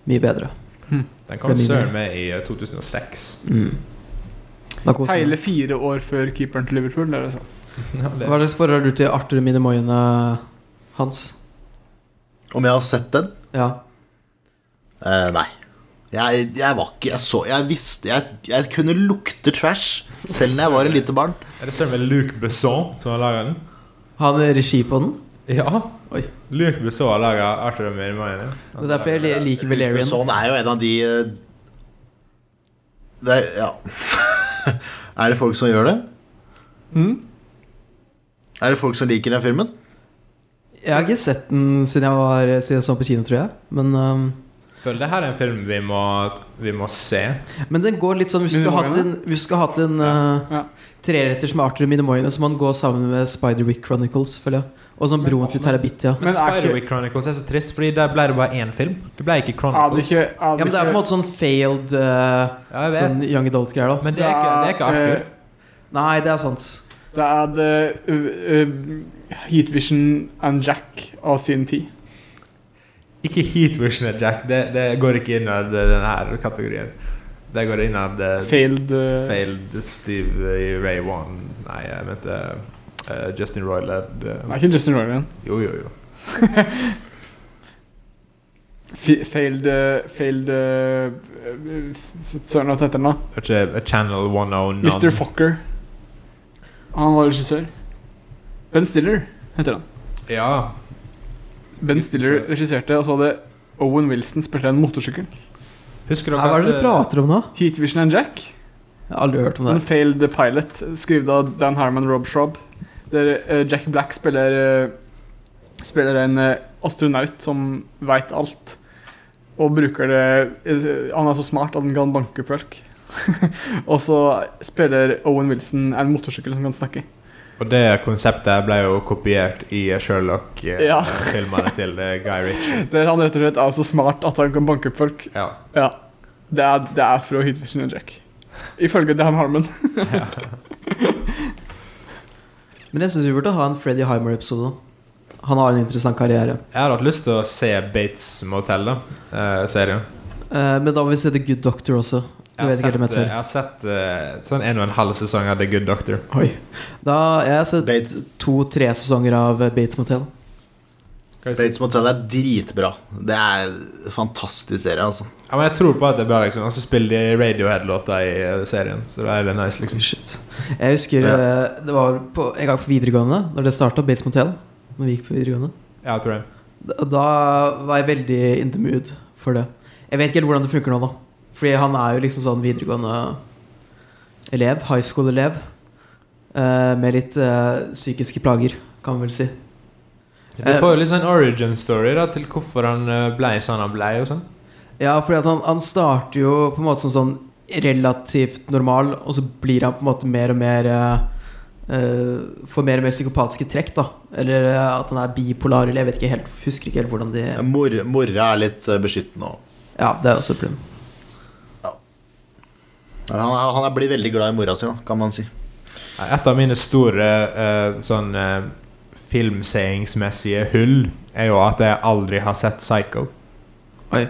S2: mye bedre.
S3: Den kom søren meg i eh, 2006.
S2: Da koser jeg
S1: Hele
S2: meg.
S1: fire år før keeperen til Liverpool. Det er det sånn.
S3: Ja, det-
S2: Hva slags forhold har du til Arthur og Minimoyene, Hans?
S4: Om jeg har sett den?
S2: Ja.
S4: Eh, nei. Jeg, jeg var ikke Jeg så Jeg visste jeg, jeg kunne lukte trash, selv når jeg var et lite barn.
S3: Er det søren meg Luc Besson som har laga den?
S2: Har han regi på den?
S3: Ja.
S2: Oi.
S3: Luc Besson har laga Arthur og Minimoiaene.
S2: Det er derfor jeg li- liker Valerian.
S4: Sånn er jo en av de eh, Det er Ja. er det folk som gjør det?
S3: Mm.
S4: Er det folk som liker den filmen?
S2: Jeg har ikke sett den siden jeg var Siden jeg så den på kino, tror jeg. Men, um,
S3: Føler det her er en film vi må, vi må se.
S2: men den går litt sånn Hvis du skulle hatt en, hvis du skulle hatt en uh,
S1: Ja.
S2: treretters med Arthur og Minimoyene, så må den gå sammen med Spiderwick Chronicles, føler jeg. Og sånn broen til Terabithia.
S1: Men
S3: Men
S1: er ikke-
S3: Spiderwick Chronicles er så trist, Fordi der ble det bare én film. Det ble
S1: Er
S3: ikke
S1: det
S3: Chronicles.
S1: ikke,
S2: Ja, men det er på en måte sånn failed eh,
S3: Ja, jeg vet.
S2: sånn young adult-greier, da.
S3: Men det er ikke, det er
S1: eh,
S3: ikke Arthur.
S2: Nei, det er sant.
S1: Det er det uh, uh, Heat Vision and Jack av sin tid.
S3: Ikke Heat Vision og Jack. Det, det går ikke innad denne her kategorien. Det går innad eh,
S1: Failed, uh,
S3: Failed Steve eh, Ray Wan. Nei, jeg mente eh, Justin eh, Roiland.
S1: Nei, ikke Justin Roiland.
S3: Jo, jo, jo.
S1: fi- failed eh, Failed eh, eh, Søren, hva heter den da?
S3: Det er Ikke Channel 109
S1: Mr. Focker. Han var regissør. Ben Stiller heter han.
S3: Ja.
S1: Ben Stiller regisserte, og så hadde Owen Wilson spilt en motorsykkel.
S3: Husker
S2: Hva
S3: dere
S2: er det dere
S3: at, eh,
S2: prater om nå?
S1: Heat Vision and Jack.
S2: Jeg har aldri hørt om det.
S1: En
S2: her.
S1: failed pilot, skrevet av Dan Harmon Rob Schraub. Der eh, Jack Black spiller eh, Spiller en eh, astronaut som veit alt. Og bruker det eh, Han er så smart at han kan banke opp folk. og så spiller Owen Wilson en motorsykkel som kan snakke.
S3: Og det konseptet ble jo kopiert i
S1: Ja.
S3: Sherlock-filmene til eh, Guy Ritchie.
S1: Der han rett og slett er så smart at han kan banke opp folk.
S3: Ja.
S1: Ja. Det er, det er fra Hit Vision and Jack. Ifølge Dan Harmon.
S2: Men jeg syns vi burde ha en Freddy Heimer-episode. Han har en interessant karriere.
S3: Jeg hadde hatt lyst til å se Bates Motel, da. eh, serien.
S2: Eh, men da må vi se The Good Doctor også. Du
S3: Jeg har
S2: vet ikke helt
S3: sett, eh,
S2: om jeg tør.
S3: jeg har sett eh, sånn en og en halv sesong av The Good Doctor.
S2: Oi. Da, jeg har sett
S4: Bates,
S2: to-tre sesonger av eh, Bates Motel.
S3: Hva jeg,
S4: Bates Motel er dritbra. Det er en fantastisk serie, altså.
S3: ja, men jeg tror på at det er bra, liksom. Og så spiller de Radiohead-låter i eh, serien, så det er litt nice, liksom.
S2: Shit. Jeg husker
S4: Ja.
S2: eh, det var på, en gang på videregående, Når det starta, Bates Motel. Når vi gikk på videregående.
S3: Ja, jeg tror det.
S2: Da, da var jeg veldig in the mood for det. Jeg vet ikke helt hvordan det funker nå, da. Fordi han er jo liksom sånn videregående elev. High school-elev. eh, med litt eh, psykiske plager, kan man vel si.
S3: Du får jo litt sånn origin story da til hvorfor han eh, ble sånn han ble. og sånn
S2: Ja, fordi at han, han starter jo på en måte som sånn relativt normal, og så blir han på en måte mer og mer eh, eh, Får mer og mer psykopatiske trekk, da. Eller eh, at han er bipolar, eller jeg vet ikke helt, husker ikke helt hvordan de
S4: Mor, mora er litt eh, beskyttende òg.
S2: Ja, det er også et problem.
S4: Han, er- han er- blir veldig glad i mora si, da, kan man si.
S3: Et av mine store eh, sånn eh, filmseiingsmessige hull er jo at jeg aldri har sett Psycho.
S2: Oi.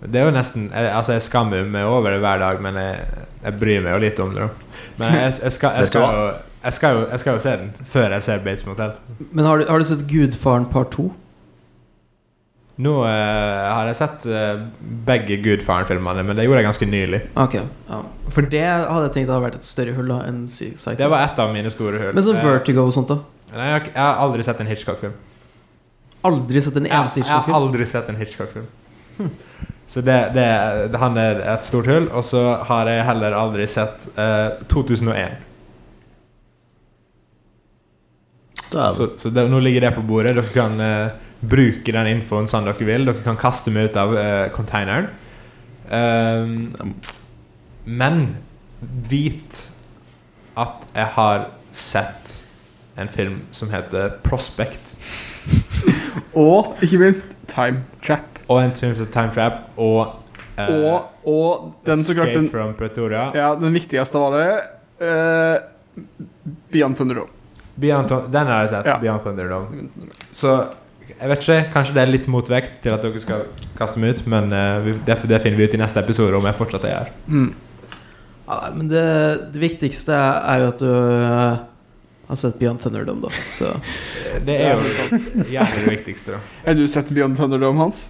S3: Det er jo nesten jeg, Altså, jeg skammer meg over det hver dag, men jeg, jeg bryr meg jo litt om det, da. Men jeg, jeg, skal, jeg,
S4: Vet du
S3: skal, jo, jeg, skal, jo, jeg skal jo se den før jeg ser Bates Motel.
S2: Men har du, har du sett Gudfaren part 2?
S3: Nå eh, har jeg sett eh, begge Gudfaren-filmene, men det gjorde jeg ganske nylig.
S2: Ok. Ja. For det hadde jeg tenkt hadde vært et større hull da enn Psy- Psycho.
S3: Det var et av mine store hull.
S2: Men sånn
S3: Eh,
S2: Vertigo og sånt, da.
S3: Nei, jeg, har ikke- jeg har aldri sett en Hitchcock-film.
S2: Aldri sett en eneste
S3: Jeg, jeg har
S2: Hitchcock-film. Hm.
S3: aldri sett en Hitchcock-film. Så det, det, det, han er et stort hull. Og så har jeg heller aldri sett eh, 2001.
S4: Da er-
S3: Så, Altså, så det, nå ligger det på bordet. Dere kan eh, bruke den infoen sånn dere vil. Dere kan kaste meg ut av eh, containeren. Ehm, men vit at jeg har sett en film som heter Prospect.
S1: Og ikke minst Time Trap.
S3: Og en film som heter Time Trap. Og, eh,
S1: Og, og den så klart
S3: Escape
S1: den
S3: from Pretoria.
S1: Ja, den viktigste av alle eh, Beyond Thunderdome.
S3: Beyond Thun- den har jeg sett.
S1: Ja.
S3: Beyond Thunderdome. Så jeg vet ikke, kanskje det er litt motvekt til at dere skal kaste meg ut, men eh, vi, det, det finner vi ut i neste episode om jeg fortsatt er her.
S1: Mm.
S2: Ja, nei, men det, det viktigste er jo at du eh, har sett Beyond Thunderdome, da. Så
S3: Det er jo jævlig det viktigste, da.
S1: Har du sett Beyond Thunderdome, Hans?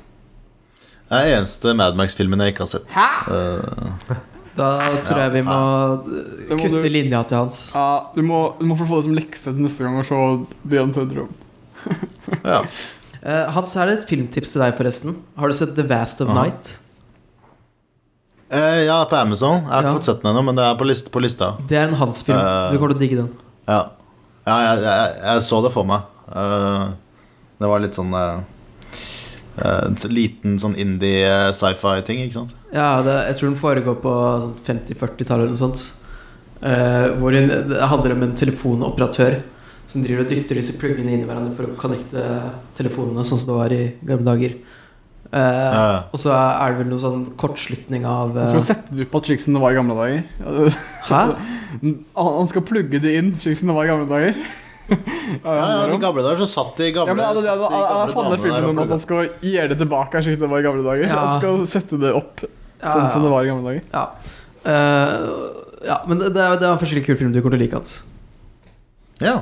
S4: Det er den eneste Madmax-filmen jeg ikke har sett. Eh,
S2: Da tror jeg vi må
S1: Det må
S2: kutte
S1: du-
S2: linja til Hans.
S1: Ja, du må, du må få få det som lekse til neste gang å se Beyond Thunderdome.
S4: ja.
S2: Eh, Hans, her er et filmtips til deg, forresten. Har du sett The Vast of
S4: Aha.
S2: Night?
S4: Eh, ja, på Amazon. Jeg har ikke
S2: Ja.
S4: fått sett den ennå, men det er på, list, på lista.
S2: Det er en Hans-film.
S4: Eh.
S2: Du kommer til å digge den.
S4: Ja, ja jeg, jeg, jeg så det for meg. Eh, det var litt sånn eh, eh, en liten sånn indie eh, sci-fi-ting, ikke sant?
S2: Ja, det, jeg tror den foregår på sånn 50-40-tallet eller noe sånt. Eh, hvor hun, det handler om en telefonoperatør som driver og dytter disse pluggene inn i hverandre for å connecte telefonene, sånn som det var i gamle dager. Eh,
S4: ja.
S2: Og så er det vel noe sånn kortslutning av
S1: Han
S2: eh,
S1: skal sette det ut på at slik som det var i gamle dager. Ja, det-
S2: Hæ?
S1: Han, han skal plugge det inn slik som det var i gamle dager. Ja,
S4: Ja, ja,
S1: det handler
S4: de
S1: om.
S4: gamle der så satt de
S1: ja,
S4: gamle
S1: men altså, det,
S4: satt de
S1: det, det,
S4: gamle
S1: det handler
S4: damene der
S1: filmen om
S4: og
S1: at
S4: plugga.
S1: han skal gjøre det tilbake slik det var i gamle dager.
S2: Ja.
S1: Han skal sette det opp
S2: Ja,
S1: sånn som det
S2: ja.
S1: var i gamle dager.
S2: Ja. Eh, ja, men det, det er det er en forskjellig kul film du kommer til å like, Hans.
S4: Ja,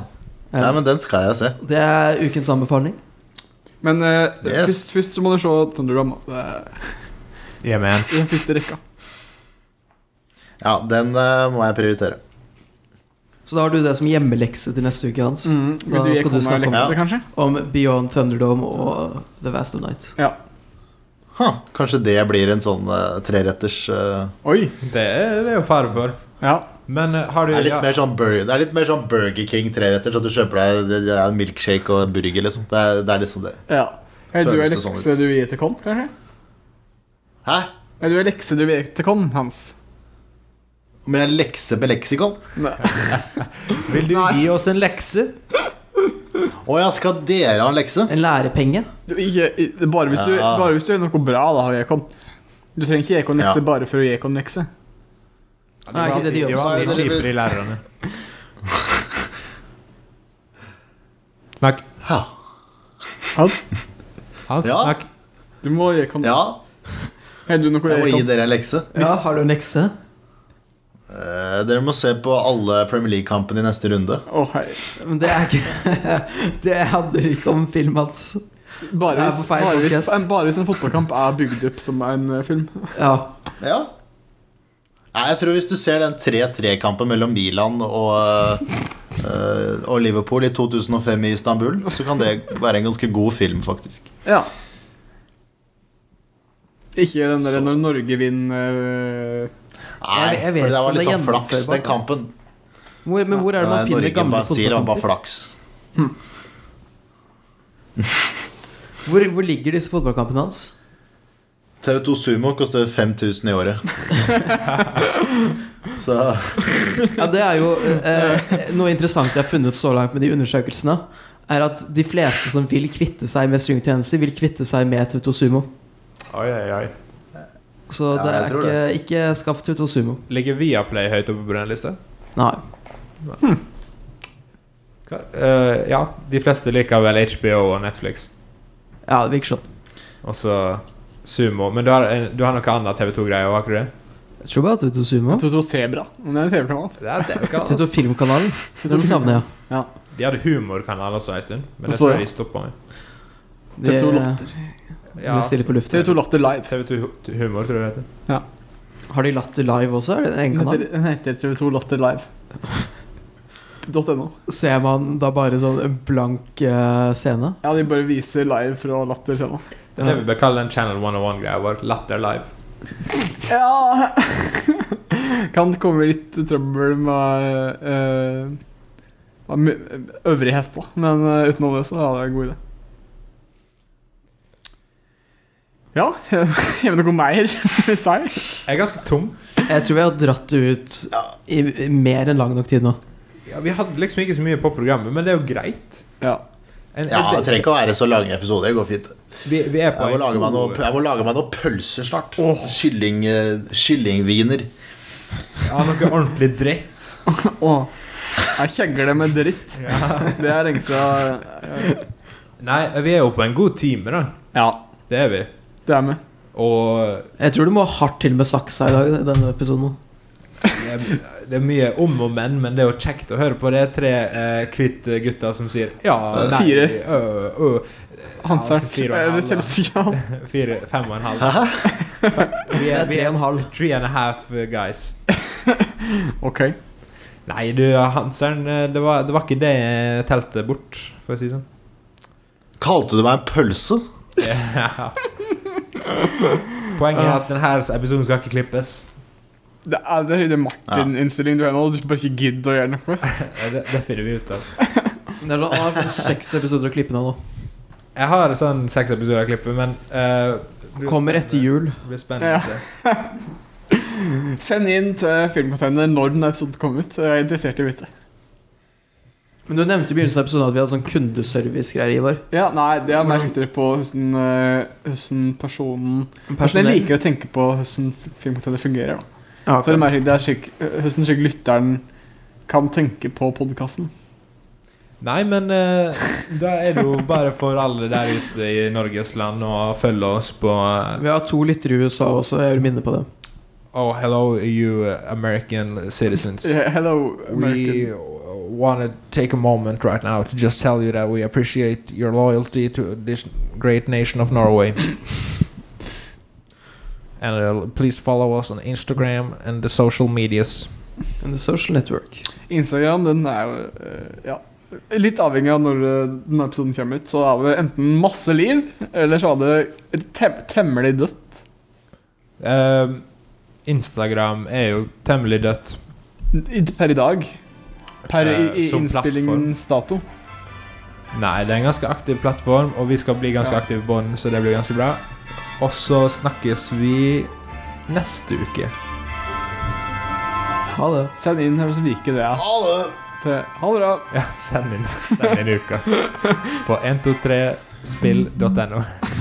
S2: Eh,
S4: Nei, men den skal jeg se.
S2: Det er ukens anbefaling.
S1: Men eh,
S4: Yes.
S1: først, først så må du se Thunderdrum eh,
S3: Yeah, man.
S1: i den første rekka.
S4: Ja, den eh, må jeg prioritere.
S2: Så da har du det som hjemmelekse til neste uke, Hans.
S1: Mm,
S2: Da
S1: vil du gi
S2: skal du
S1: meg
S2: snakke om,
S1: lekser, kanskje?
S2: om Beyond Thunderdome og The Vast of Night.
S1: Ja.
S4: Huh, kanskje det blir en sånn eh, treretters eh,
S1: Oi.
S3: Det er det er jo fare for.
S1: Ja.
S3: Men eh, har du
S4: det, er litt
S3: ja,
S4: mer sånn Burger, det er litt mer sånn Burger King treretters, at du kjøper deg det- det er en milkshake og en burger, liksom. Det er, det er liksom det.
S1: ja. Er du
S4: Føles
S1: ei
S4: det sånn
S1: lekse
S4: ut?
S1: du vil gi til Kon, kanskje?
S4: Hæ?
S1: Er du ei lekse du vil gi til Kon, Hans?
S4: Om jeg lekser med leksikon?
S1: Nei.
S3: Vil du gi oss en lekse?
S4: Å ja, skal dere ha en lekse?
S2: En lærepenge.
S1: Du, ikke, i- bare, hvis du,
S4: Ja.
S1: bare hvis du gjør noe bra, da, har Ekon. Du trenger ikke Ekon-lekse
S4: Ja.
S1: bare for å gi Ekon-lekse.
S2: Nei, ikke det de gjør.
S3: De var litt kjipe, de lærerne. Snakk.
S4: Ja.
S1: Hans,
S3: Hans,
S4: Ja.
S3: snakk.
S1: du må gi Ekon.
S4: ja,
S1: Er du noe
S4: jeg må gi
S1: Ekon?
S4: dere en lekse.
S2: Ja, har du en lekse?
S4: Eh, dere må se på alle Premier League-kampene i neste runde.
S1: Å, hei.
S2: Men det er ikke Det handler ikke om film, Hans.
S1: Bare
S2: Det er
S1: hvis,
S2: på feil
S1: bare, hvis,
S2: podcast.
S1: bare hvis en fotballkamp er bygd opp som en eh, film.
S2: Ja.
S4: Ja. Nei, jeg tror hvis du ser den 3-3-kampen mellom Milan og, eh, og Liverpool i 2005 i Istanbul, så kan det være en ganske god film, faktisk.
S1: Ja. Ikke den der
S4: Så.
S1: når Norge vinner eh,
S4: Nei,
S2: Jeg- jeg vet
S4: for det
S2: ikke om
S4: var litt
S2: det er
S4: sånn flaks,
S2: gjennomførbart.
S4: den kampen.
S2: Hvor, men hvor er det man finner gamle
S4: Norge-Brasil var bare
S2: fotballkamper?
S4: flaks.
S2: Hvor, hvor ligger disse fotballkampene hans?
S4: TV2 Sumo koster 5000 i året. Så
S2: Ja, det er jo eh, Noe interessant jeg har funnet så langt med de undersøkelsene, er at de fleste som vil kvitte seg med streamingtjenester, vil kvitte seg med Tuto Sumo.
S3: Oi, oi, oi.
S2: Så
S4: Ja,
S2: det
S4: jeg
S2: er
S4: tror
S2: ikke, ikke skaff Tuto Sumo.
S3: Ligger Viaplay høyt oppe på den lista?
S2: Nei.
S3: Hva? Eh, ja, de fleste liker vel HBO og Netflix.
S2: Ja, det virker sånn.
S3: Og så Sumo. Men du har, en- du har noe annet TV2-greier òg, har ikke du det?
S2: Jeg tror bare Tuto Sumo.
S1: Toto Sebra. Men Det er en TV-kanal.
S3: Det er TV-kanal.
S2: Tuto
S3: altså.
S2: Filmkanalen. Den savner jeg.
S3: De hadde humorkanal også en stund,
S1: Hva
S3: men det
S1: tror
S3: tror
S1: jeg?
S3: jeg de stoppa med.
S2: De,
S1: TV2
S2: eh,
S3: Ja.
S2: de stiller på luft.
S1: TV2 Latter Live.
S3: TV2 hu- Humor, tror jeg det heter.
S2: Har de Latter Live også? Er det en egen
S1: Den
S2: kanal?
S1: heter, den heter TV2 Latter Live. .no.
S2: Ser man da bare sånn en blank eh, scene?
S1: Ja, de bare viser live fra Latter scenen.
S3: Det er det vi bør kalle den Channel 101-greia vår. Latter Live.
S1: Ja Kan komme litt trøbbel med eh, med øvrighet, da. Men eh, utenom det, så er det en god idé. Ja, har vi noe mer å si?
S3: Jeg er ganske tom.
S2: Jeg tror vi har dratt det ut i, i mer enn lang nok tid nå.
S3: Ja, vi hadde liksom ikke så mye på programmet, men det er jo greit.
S1: Ja.
S3: En-
S4: ja, det
S3: en-
S4: trenger ikke å være så lange episoder. Det går fint.
S3: vi, vi er på
S4: Jeg må
S3: en
S4: lage meg
S3: god-
S4: noen, jeg må lage meg noen pølser snart.
S1: Åh.
S4: Kylling, eh, kyllingviner.
S3: Ja, noe ordentlig dritt.
S1: Åh, jeg kjegler det med dritt. Det er lenge siden eh,
S3: Nei, vi er jo på en god time, da.
S1: Ja,
S3: Det er vi.
S1: det er med.
S3: Og
S2: Jeg tror du må hardt til med saksa i dag. i denne episoden
S3: det er- det er mye om og men, men det er jo kjekt å høre på. Det er tre eh, kvitte gutter som sier ja, nei, eh,
S1: Fire.
S3: Ø, ø,
S1: Hansert.
S3: til fire og en
S1: Eller
S3: halv, da.
S1: Telesian.
S3: fire, fem og en halv.
S4: Hæ?
S3: Vi
S2: Det
S3: er,
S2: er
S3: vi
S2: tre og
S3: er
S2: en halv.
S3: three and a half eh, guys.
S1: Ok.
S3: Nei, du, Hanseren, eh, det var, det var ikke det jeg telte bort, for å si det sånn.
S4: Kalte du meg en pølse?
S3: Ja. Poenget er at denne episoden skal ikke klippes.
S1: Det er det er Martin-innstilling du har nå. Du bare ikke gidder å gjøre noe.
S3: Eh, Det, det finner vi ut av.
S2: Det er sånn, å, det er seks episoder å klippe nå. nå.
S3: Jeg har sånn seks episoder av klippet, men eh, det blir
S2: Kommer
S3: spennende.
S2: etter jul.
S3: Det blir spennende.
S1: Send inn til Filmcontainer når den episoden kom ut. Jeg er interessert i å vite.
S2: Men Du nevnte i begynnelsen av episoden at vi hadde sånn kundeservice-greier, Ivar.
S1: Ja, nei, det er mer viktigere på hvordan, eh, hvordan personen Hvordan jeg
S2: Personell.
S1: liker å tenke på hvordan Filmcontainer fungerer. Da.
S2: Ja,
S1: Så det er
S2: ok.
S1: mer det er slik, eh, hvordan slik lytteren kan tenke på podkasten.
S3: Nei, men eh, da er det jo bare for alle der ute i Norges land å følge oss på eh,
S2: Vi har to lyttere i USA også, jeg vil minne på det.
S3: Oh, hello you eh, American citizens.
S1: Eh, Hello,
S3: We
S1: American.
S3: want to take a moment right now to just tell you that we appreciate your loyalty to this great nation of Norway. And uh, please follow us on Instagram and the social medias.
S2: And the social network.
S1: Instagram den er jo eh, ja, litt avhengig av når eh, denne episoden kommer ut. Så er det enten masse liv, eller så er det tem temmelig dødt.
S3: Um, Instagram er jo temmelig dødt.
S1: I- Per i dag. Per i,
S3: Eh,
S1: i
S3: som
S1: innspillingens dato.
S3: Nei, det er en ganske aktiv plattform, og vi skal bli ganske
S1: Ja.
S3: aktive på den, så det blir ganske bra. Og så snakkes vi neste uke.
S2: Ha det.
S1: Send inn her så virker det. ja.
S4: Ha det!
S1: Til, ha det bra.
S3: Ja, send inn, send inn uka. På 123spill.no.